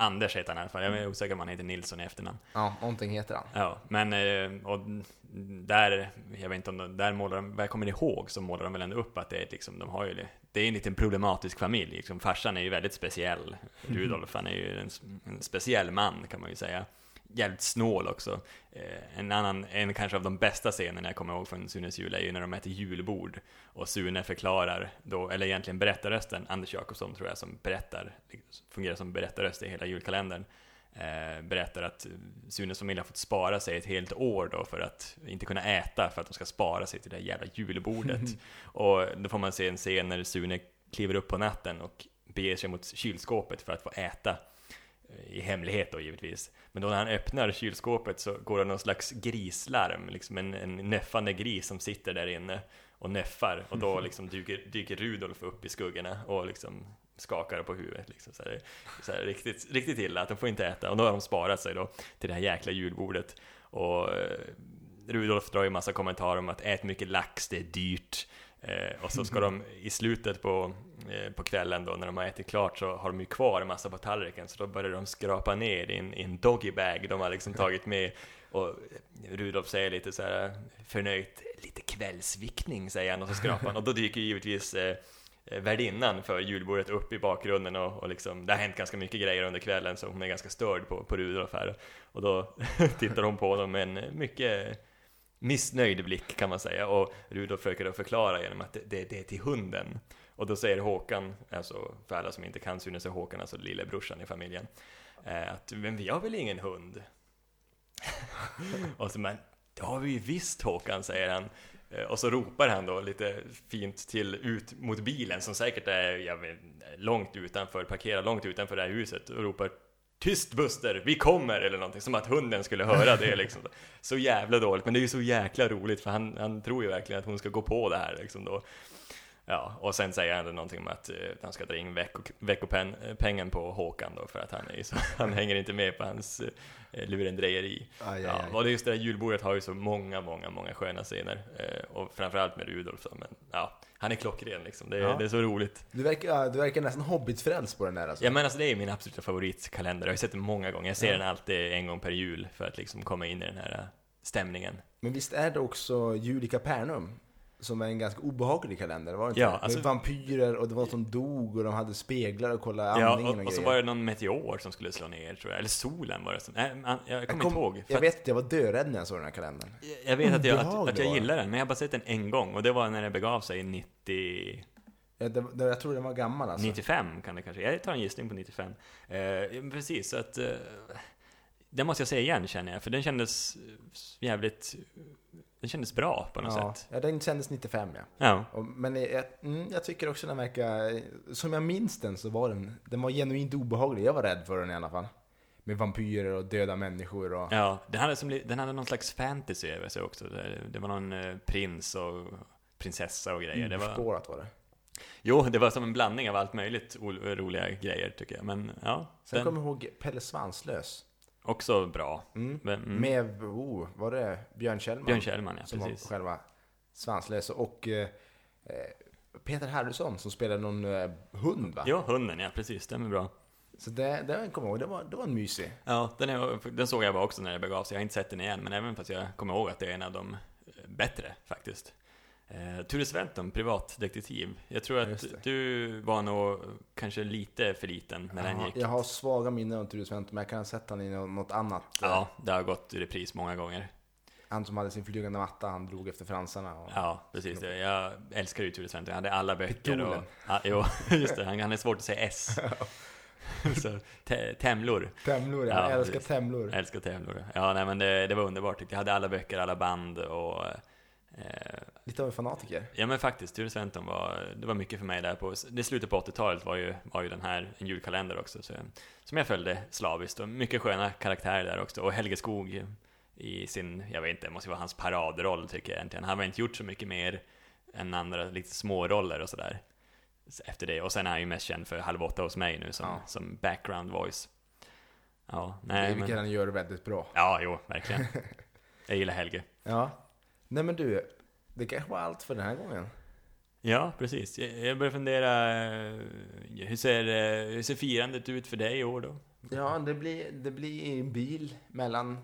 [SPEAKER 1] Anders heter han i alla fall, jag är osäker om han heter Nilsson i efternamn.
[SPEAKER 2] ja, någonting heter han.
[SPEAKER 1] Ja, men eh, och där, jag vet inte om de, där målar de, vad jag kommer ihåg så målar de väl ändå upp att det är ett liksom, de har ju det. Det är en liten problematisk familj liksom. Farsan är ju väldigt speciell. Rudolf, han är ju en, s- en speciell man kan man ju säga. Jävligt snål också. Eh, en annan, en kanske av de bästa scenerna jag kommer ihåg från Sunes jul är ju när de äter julbord och Sune förklarar då, eller egentligen berättarrösten, Anders Jakobsson tror jag som berättar, liksom, fungerar som berättarröst i hela julkalendern eh, berättar att Sunes familj har fått spara sig ett helt år då för att inte kunna äta för att de ska spara sig till det här jävla julbordet. och då får man se en scen när Sune kliver upp på natten och beger sig mot kylskåpet för att få äta. eh, I hemlighet då givetvis. Men då när han öppnar kylskåpet så går det någon slags grislarm, liksom en, en nöffande gris som sitter där inne och nöffar och då liksom dyker, dyker Rudolf upp i skuggorna och liksom skakar på huvudet liksom så här, så här riktigt, riktigt illa att de får inte äta och då har de sparat sig då till det här jäkla julbordet och eh, Rudolf drar ju massa kommentarer om att ät mycket lax, det är dyrt eh, och så ska de i slutet på, eh, på kvällen då när de har ätit klart så har de ju kvar en massa på tallriken så då börjar de skrapa ner i en, i en doggybag de har liksom tagit med och Rudolf säger lite så här förnöjt, lite kvällsvickning säger han och så skrapar han och då dyker ju givetvis eh, eh, värdinnan för julbordet upp i bakgrunden och, och liksom, det har hänt ganska mycket grejer under kvällen så hon är ganska störd på, på Rudolf här och då tittar hon på dem med en mycket missnöjd blick kan man säga och Rudolf försöker då förklara genom att det, det, det är till hunden och då säger Håkan, alltså för alla som inte kan synas är Håkan alltså lillebrorsan i familjen eh, att men vi har väl ingen hund? och så men det har vi ju visst Håkan säger han Eh, och så ropar han då lite fint till ut mot bilen som säkert är jag vet, långt utanför, parkerad långt utanför det här huset och ropar Tyst Buster, vi kommer! Eller någonting, som att hunden skulle höra det liksom. Så jävla dåligt, men det är ju så jäkla roligt för han, han tror ju verkligen att hon ska gå på det här liksom då. Ja, och sen säger han någonting om att eh, han ska dra in vecko, veckopengen på Håkan då för att han, är ju så, han hänger inte med på hans eh, lurendrejeri.
[SPEAKER 2] Aj, aj,
[SPEAKER 1] Ja,
[SPEAKER 2] aj.
[SPEAKER 1] och det är just det där julbordet har ju så många, många, många sköna scener. Eh, och framförallt med Rudolf då, men ja, han är klockren liksom. Det, är-
[SPEAKER 2] Ja.
[SPEAKER 1] det är så roligt.
[SPEAKER 2] Du verkar, ja, du verkar nästan hobbitfrälst på den där alltså.
[SPEAKER 1] Ja men alltså det är min absoluta favoritkalender, jag har sett den många gånger. Jag ser den alltid en gång per jul för att liksom komma in i den här eh, stämningen.
[SPEAKER 2] Men visst är det också Julika Pernum? Som är en ganska obehaglig kalender, var det inte
[SPEAKER 1] Ja,
[SPEAKER 2] det?
[SPEAKER 1] alltså-
[SPEAKER 2] Med vampyrer och det var något som dog och de hade speglar och kollade
[SPEAKER 1] Ja,
[SPEAKER 2] andningen
[SPEAKER 1] och,
[SPEAKER 2] och,
[SPEAKER 1] och så
[SPEAKER 2] grejer.
[SPEAKER 1] var det någon meteor som skulle slå ner tror jag, eller solen var det som, nej, man, jag, kommer inte ihåg. För
[SPEAKER 2] Jag
[SPEAKER 1] att-
[SPEAKER 2] vet att jag var dörädd när jag såg den här kalendern.
[SPEAKER 1] Jag vet att jag, att,
[SPEAKER 2] Obehaglig
[SPEAKER 1] att jag
[SPEAKER 2] var den.
[SPEAKER 1] gillar den, men jag har bara sett den en gång och det var när den begav sig i 90,
[SPEAKER 2] Jag, det, det, jag tror den var gammal alltså.
[SPEAKER 1] 95 kan det kanske, jag tar en gissning på 95. Eh, ja, men precis, så att eh, den måste jag säga igen känner jag, för den kändes eh, jävligt, den kändes bra på något
[SPEAKER 2] ja.
[SPEAKER 1] sätt.
[SPEAKER 2] ja, den kändes 95 ja.
[SPEAKER 1] Ja.
[SPEAKER 2] Och, men jag, mm, jag tycker också den verkar, som jag minns den så var den, den var genuint obehaglig. Jag var rädd för den i alla fall. Med vampyrer och döda människor och...
[SPEAKER 1] Ja, den hade, som, li- den hade någon slags fantasy över sig också. Det, det var någon eh, prins och prinsessa och grejer. Det
[SPEAKER 2] Mm.
[SPEAKER 1] var,
[SPEAKER 2] Urspårat var det.
[SPEAKER 1] jo, det var som en blandning av allt möjligt ol- roliga grejer tycker jag. Men ja,
[SPEAKER 2] Sen
[SPEAKER 1] den
[SPEAKER 2] kommer jag ihåg Pelle Svanslös.
[SPEAKER 1] också bra.
[SPEAKER 2] Mm.
[SPEAKER 1] Men, mm.
[SPEAKER 2] Med, oh, var det Björn Kjellman?
[SPEAKER 1] Björn Kjellman, ja
[SPEAKER 2] som
[SPEAKER 1] precis.
[SPEAKER 2] var själva Svanslösa. Och eh, eh, Peter Harrison som spelade någon eh, hund va?
[SPEAKER 1] Ja, hunden, ja precis. Den är bra.
[SPEAKER 2] Så det, det kommer jag ihåg, det var, det var en mysig.
[SPEAKER 1] Ja, den, är, den såg jag bara också när det begav sig. Jag har inte sett den igen, men även fast jag kommer ihåg att det är en av de eh, bättre faktiskt. Eh, Ture Sventon, privatdetektiv. Jag tror
[SPEAKER 2] Just det.
[SPEAKER 1] att du var nog kanske lite för liten när den
[SPEAKER 2] Ja,
[SPEAKER 1] gick.
[SPEAKER 2] jag har svaga minnen av Ture Sventon, men jag kan ha sett han i nå- något annat. Eh,
[SPEAKER 1] Ja, det har gått i repris många gånger.
[SPEAKER 2] Han som hade sin flygande matta, han drog efter fransarna. Och...
[SPEAKER 1] Ja, precis. Jag älskar ju Ture Sventon. Jag hade alla böcker och...
[SPEAKER 2] Pitolen.
[SPEAKER 1] Ja, jo, just det. Han, han är svårt att säga S. Så, te, temlor.
[SPEAKER 2] Temlor, ja.
[SPEAKER 1] Ja,
[SPEAKER 2] jag älskar
[SPEAKER 1] precis.
[SPEAKER 2] Temlor.
[SPEAKER 1] Jag älskar temlor. Ja, nej men det, det var underbart tyckte jag. Jag hade alla böcker, alla band och... Eh,
[SPEAKER 2] Lite av en fanatiker.
[SPEAKER 1] ja men faktiskt, Ture Sventon var... Det var mycket för mig där på... Det slutet på 80-talet var ju, var ju den här, en julkalender också. Så, som jag följde slaviskt. Och mycket sköna karaktärer där också. Och Helge Skog i sin, jag vet inte, det måste ju vara hans paradroll tycker jag egentligen. Han har inte gjort så mycket mer än andra lite småroller och sådär. Efter det. Och sen är han ju mest känd för Halv åtta hos mig nu som,
[SPEAKER 2] Ja.
[SPEAKER 1] som background voice. Ja,
[SPEAKER 2] Nej,
[SPEAKER 1] nej
[SPEAKER 2] vilket
[SPEAKER 1] men...
[SPEAKER 2] han gör väldigt bra.
[SPEAKER 1] Ja, jo, verkligen. Jag gillar Helge.
[SPEAKER 2] Ja. Nej men du, det kanske var allt för den här gången.
[SPEAKER 1] Ja, precis. Jag jag börjar fundera, eh, hur ser, eh, hur ser firandet ut för dig i år då?
[SPEAKER 2] Ja, det blir, det blir en bil mellan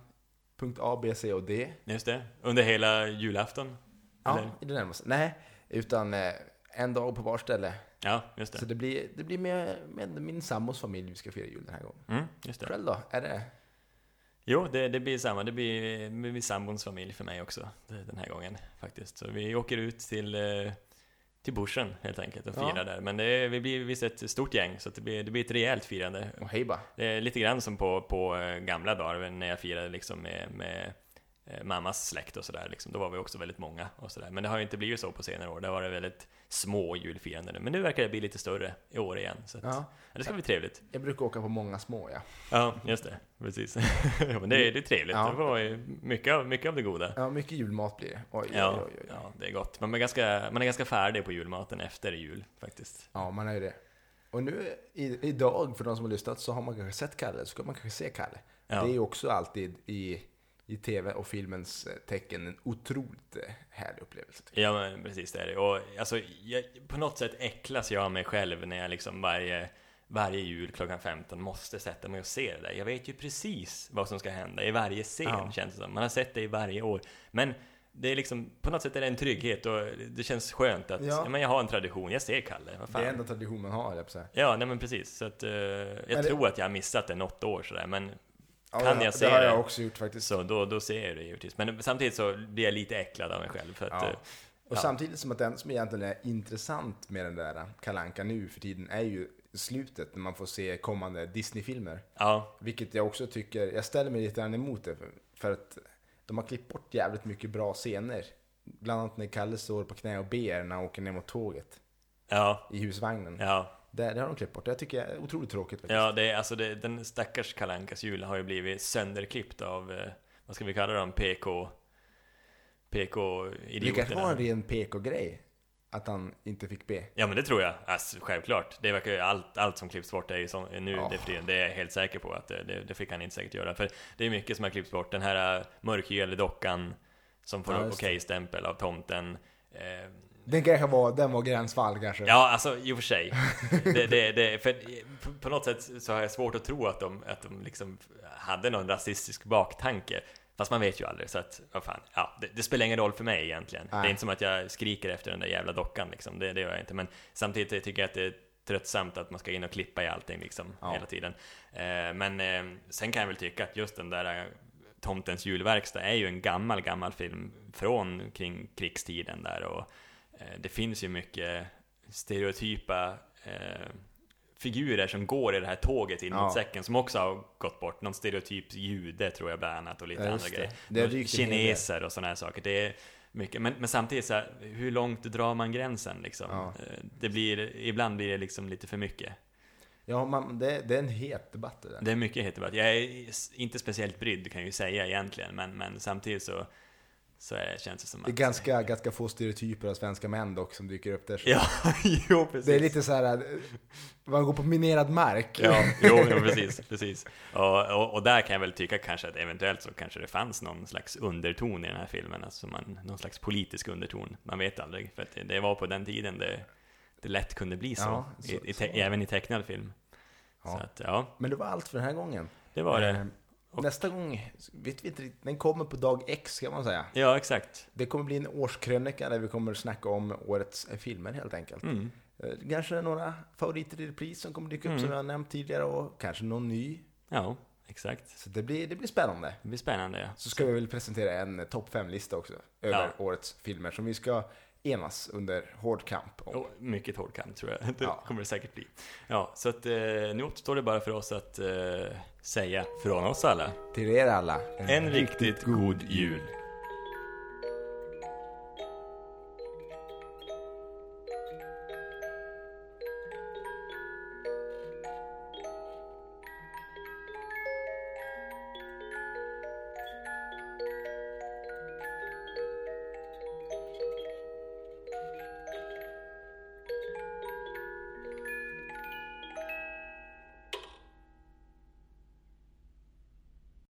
[SPEAKER 2] punkt A, B, C och D.
[SPEAKER 1] Just det, under hela julafton?
[SPEAKER 2] Ja,
[SPEAKER 1] Eller?
[SPEAKER 2] i det närmaste. Nej, utan eh, en dag på var ställe.
[SPEAKER 1] Ja, just
[SPEAKER 2] Så
[SPEAKER 1] det.
[SPEAKER 2] det blir, det blir med, med min sambos familj vi ska fira jul den här gången.
[SPEAKER 1] Mm, just det.
[SPEAKER 2] Själv då? Är det?
[SPEAKER 1] Jo, det, det blir samma. Det blir, det blir sambons familj för mig också det- den här gången faktiskt. Så vi åker ut till, eh, till bushen helt enkelt och
[SPEAKER 2] Ja.
[SPEAKER 1] firar där. Men det, är- vi blir visst ett stort gäng, så att det, blir, det blir ett rejält firande.
[SPEAKER 2] Och hej bara.
[SPEAKER 1] Det är lite grann som på, på eh, gamla dagar när jag firade liksom med, med eh, mammas släkt och sådär. Liksom. Då var vi också väldigt många och sådär. Men det har ju inte blivit så på senare år. Det har varit väldigt små julfiranden. Men nu verkar det bli lite större i år igen. Så att, ja.
[SPEAKER 2] Ja.
[SPEAKER 1] det ska bli trevligt.
[SPEAKER 2] Jag brukar åka på många små ja.
[SPEAKER 1] Ja, just det. Precis. ja, men det, är- det är trevligt.
[SPEAKER 2] Ja.
[SPEAKER 1] Det var ju mycket, av- mycket av det goda.
[SPEAKER 2] Ja, mycket julmat blir det. Oj,
[SPEAKER 1] Ja,
[SPEAKER 2] oj, oj, oj.
[SPEAKER 1] ja, det är gott. Man är, ganska, man är ganska färdig på julmaten efter jul faktiskt.
[SPEAKER 2] Ja, man är ju det. Och nu i, idag, för de som har lyssnat, så har man kanske sett Kalle, så kan man kanske se Kalle.
[SPEAKER 1] Ja.
[SPEAKER 2] Det är ju också alltid i, i tv och filmens eh, tecken en otroligt eh, härlig upplevelse. tycker
[SPEAKER 1] Ja men precis det är det. Och alltså, jag, på något sätt äcklas jag av mig själv när jag liksom varje, varje jul klockan 15 måste sätta mig och se det där. Jag vet ju precis vad som ska hända i varje scen
[SPEAKER 2] Ja.
[SPEAKER 1] känns det som. Man har sett det i varje år. Men det är liksom, på något sätt är det en trygghet och det känns skönt att
[SPEAKER 2] Ja.
[SPEAKER 1] ja. men jag har en tradition, jag ser Kalle. Vad
[SPEAKER 2] jag. Det är
[SPEAKER 1] fan.
[SPEAKER 2] enda tradition man har, höll jag på att säga.
[SPEAKER 1] Ja, nej men precis. Så att, eh,
[SPEAKER 2] Men
[SPEAKER 1] jag
[SPEAKER 2] det-
[SPEAKER 1] tror att jag har missat det något år sådär, men
[SPEAKER 2] Ja,
[SPEAKER 1] Kan
[SPEAKER 2] det-
[SPEAKER 1] jag se
[SPEAKER 2] Det har
[SPEAKER 1] det?
[SPEAKER 2] jag också gjort faktiskt.
[SPEAKER 1] så då, då ser jag det givetvis. Men samtidigt så blir jag lite äcklad av mig själv för att...
[SPEAKER 2] Ja.
[SPEAKER 1] eh, Ja.
[SPEAKER 2] Och samtidigt som att den som egentligen är intressant med den där Kalanka nu för tiden är ju slutet när man får se kommande Disney-filmer.
[SPEAKER 1] ja
[SPEAKER 2] Vilket jag också tycker, jag ställer mig lite grann emot det för, för att de har klippt bort jävligt mycket bra scener. Bland annat när Kalle står på knä och ber när han åker ner mot tåget
[SPEAKER 1] ja,
[SPEAKER 2] i husvagnen.
[SPEAKER 1] ja.
[SPEAKER 2] Det, det har de klippt bort. Det tycker jag är otroligt tråkigt faktiskt.
[SPEAKER 1] Ja, det är, alltså det, den stackars Kalankas jul har ju blivit sönderklippt av, eh, vad ska vi kalla dem, PK...
[SPEAKER 2] det kanske var en
[SPEAKER 1] PK-idioterna.
[SPEAKER 2] ren PK-grej. Att han inte fick be.
[SPEAKER 1] Ja men det tror jag, alltså, självklart. Det verkar ju allt, allt som klipps bort är ju som, nu
[SPEAKER 2] Ja.
[SPEAKER 1] det för tiden, det är jag helt säker på att det, det, det fick han inte säkert göra. För det är mycket som har klippts bort, den här eh, mörkhyade dockan som får
[SPEAKER 2] Ja,
[SPEAKER 1] ja,
[SPEAKER 2] just det.
[SPEAKER 1] okej-stämpel av tomten. Eh,
[SPEAKER 2] Den kanske var, den var gränsfall kanske.
[SPEAKER 1] Ja, alltså i och för sig. Det, det, det, för, på- på något sätt så har jag svårt att tro att de, att de liksom hade någon rasistisk baktanke. Fast man vet ju aldrig, så att vad fan, ja, det, det spelar ingen roll för mig egentligen. Det
[SPEAKER 2] Nej.
[SPEAKER 1] är inte som att jag skriker efter den där jävla dockan liksom, det, det gör jag inte. Men samtidigt tycker jag att det är tröttsamt att man ska in och klippa i allting liksom,
[SPEAKER 2] Ja.
[SPEAKER 1] hela tiden. Eh, men eh, sen kan jag väl tycka att just den där eh, Tomtens julverkstad är ju en gammal, gammal film från kring krigstiden där och eh, det finns ju mycket stereotypa eh, figurer som går i det här tåget in
[SPEAKER 2] Ja.
[SPEAKER 1] mot säcken som också har gått bort. Någon stereotyp jude tror jag bland annat och lite
[SPEAKER 2] Ja, just
[SPEAKER 1] andra
[SPEAKER 2] det.
[SPEAKER 1] grejer.
[SPEAKER 2] Det har
[SPEAKER 1] Och
[SPEAKER 2] dykt en hel del.
[SPEAKER 1] Kineser och sådana här saker. Det är mycket. Men, men samtidigt så här, hur långt drar man gränsen liksom?
[SPEAKER 2] Ja.
[SPEAKER 1] Eh, Det blir, ibland blir det liksom lite för mycket.
[SPEAKER 2] Ja, man, det, det är en het debatt det där.
[SPEAKER 1] Det är mycket heterbart. Jag är inte speciellt brydd kan jag ju säga egentligen, men, men samtidigt så, så är, känns det som att...
[SPEAKER 2] Det är ganska, ganska få stereotyper av svenska män dock som dyker upp där.
[SPEAKER 1] Ja, jo precis.
[SPEAKER 2] det är lite så här, eh, man går på minerad mark.
[SPEAKER 1] Ja, jo, jo precis, precis. Och, och, och där kan jag väl tycka kanske att eventuellt så kanske det fanns någon slags underton i den här filmen, alltså man, någon slags politisk underton. Man vet aldrig, för att det, det var på den tiden det, det lätt kunde bli så,
[SPEAKER 2] Ja, så-
[SPEAKER 1] i, i
[SPEAKER 2] så.
[SPEAKER 1] te, även i tecknad film.
[SPEAKER 2] Ja.
[SPEAKER 1] Så att, ja,
[SPEAKER 2] Men det var allt för den här gången.
[SPEAKER 1] det var det.
[SPEAKER 2] Eh, Nästa gång, vet vi inte riktigt, den kommer på dag X kan man säga.
[SPEAKER 1] Ja, exakt.
[SPEAKER 2] Det kommer bli en årskrönika där vi kommer snacka om årets eh, filmer helt enkelt.
[SPEAKER 1] Mm.
[SPEAKER 2] Eh, Kanske några favoriter i repris som kommer dyka upp
[SPEAKER 1] Mm.
[SPEAKER 2] som jag har nämnt tidigare och kanske någon ny.
[SPEAKER 1] Ja, exakt.
[SPEAKER 2] Så det blir, det blir spännande.
[SPEAKER 1] Det blir spännande. ja.
[SPEAKER 2] Så ska vi väl presentera en eh, topp 5-lista också över
[SPEAKER 1] Ja.
[SPEAKER 2] årets filmer som vi ska enas under hård kamp om.
[SPEAKER 1] Och mycket hård kamp tror jag. Det
[SPEAKER 2] Ja.
[SPEAKER 1] kommer det säkert bli. Ja, så att eh, nu återstår det bara för oss att eh, säga från oss alla.
[SPEAKER 2] Till er alla,
[SPEAKER 1] En riktigt god jul!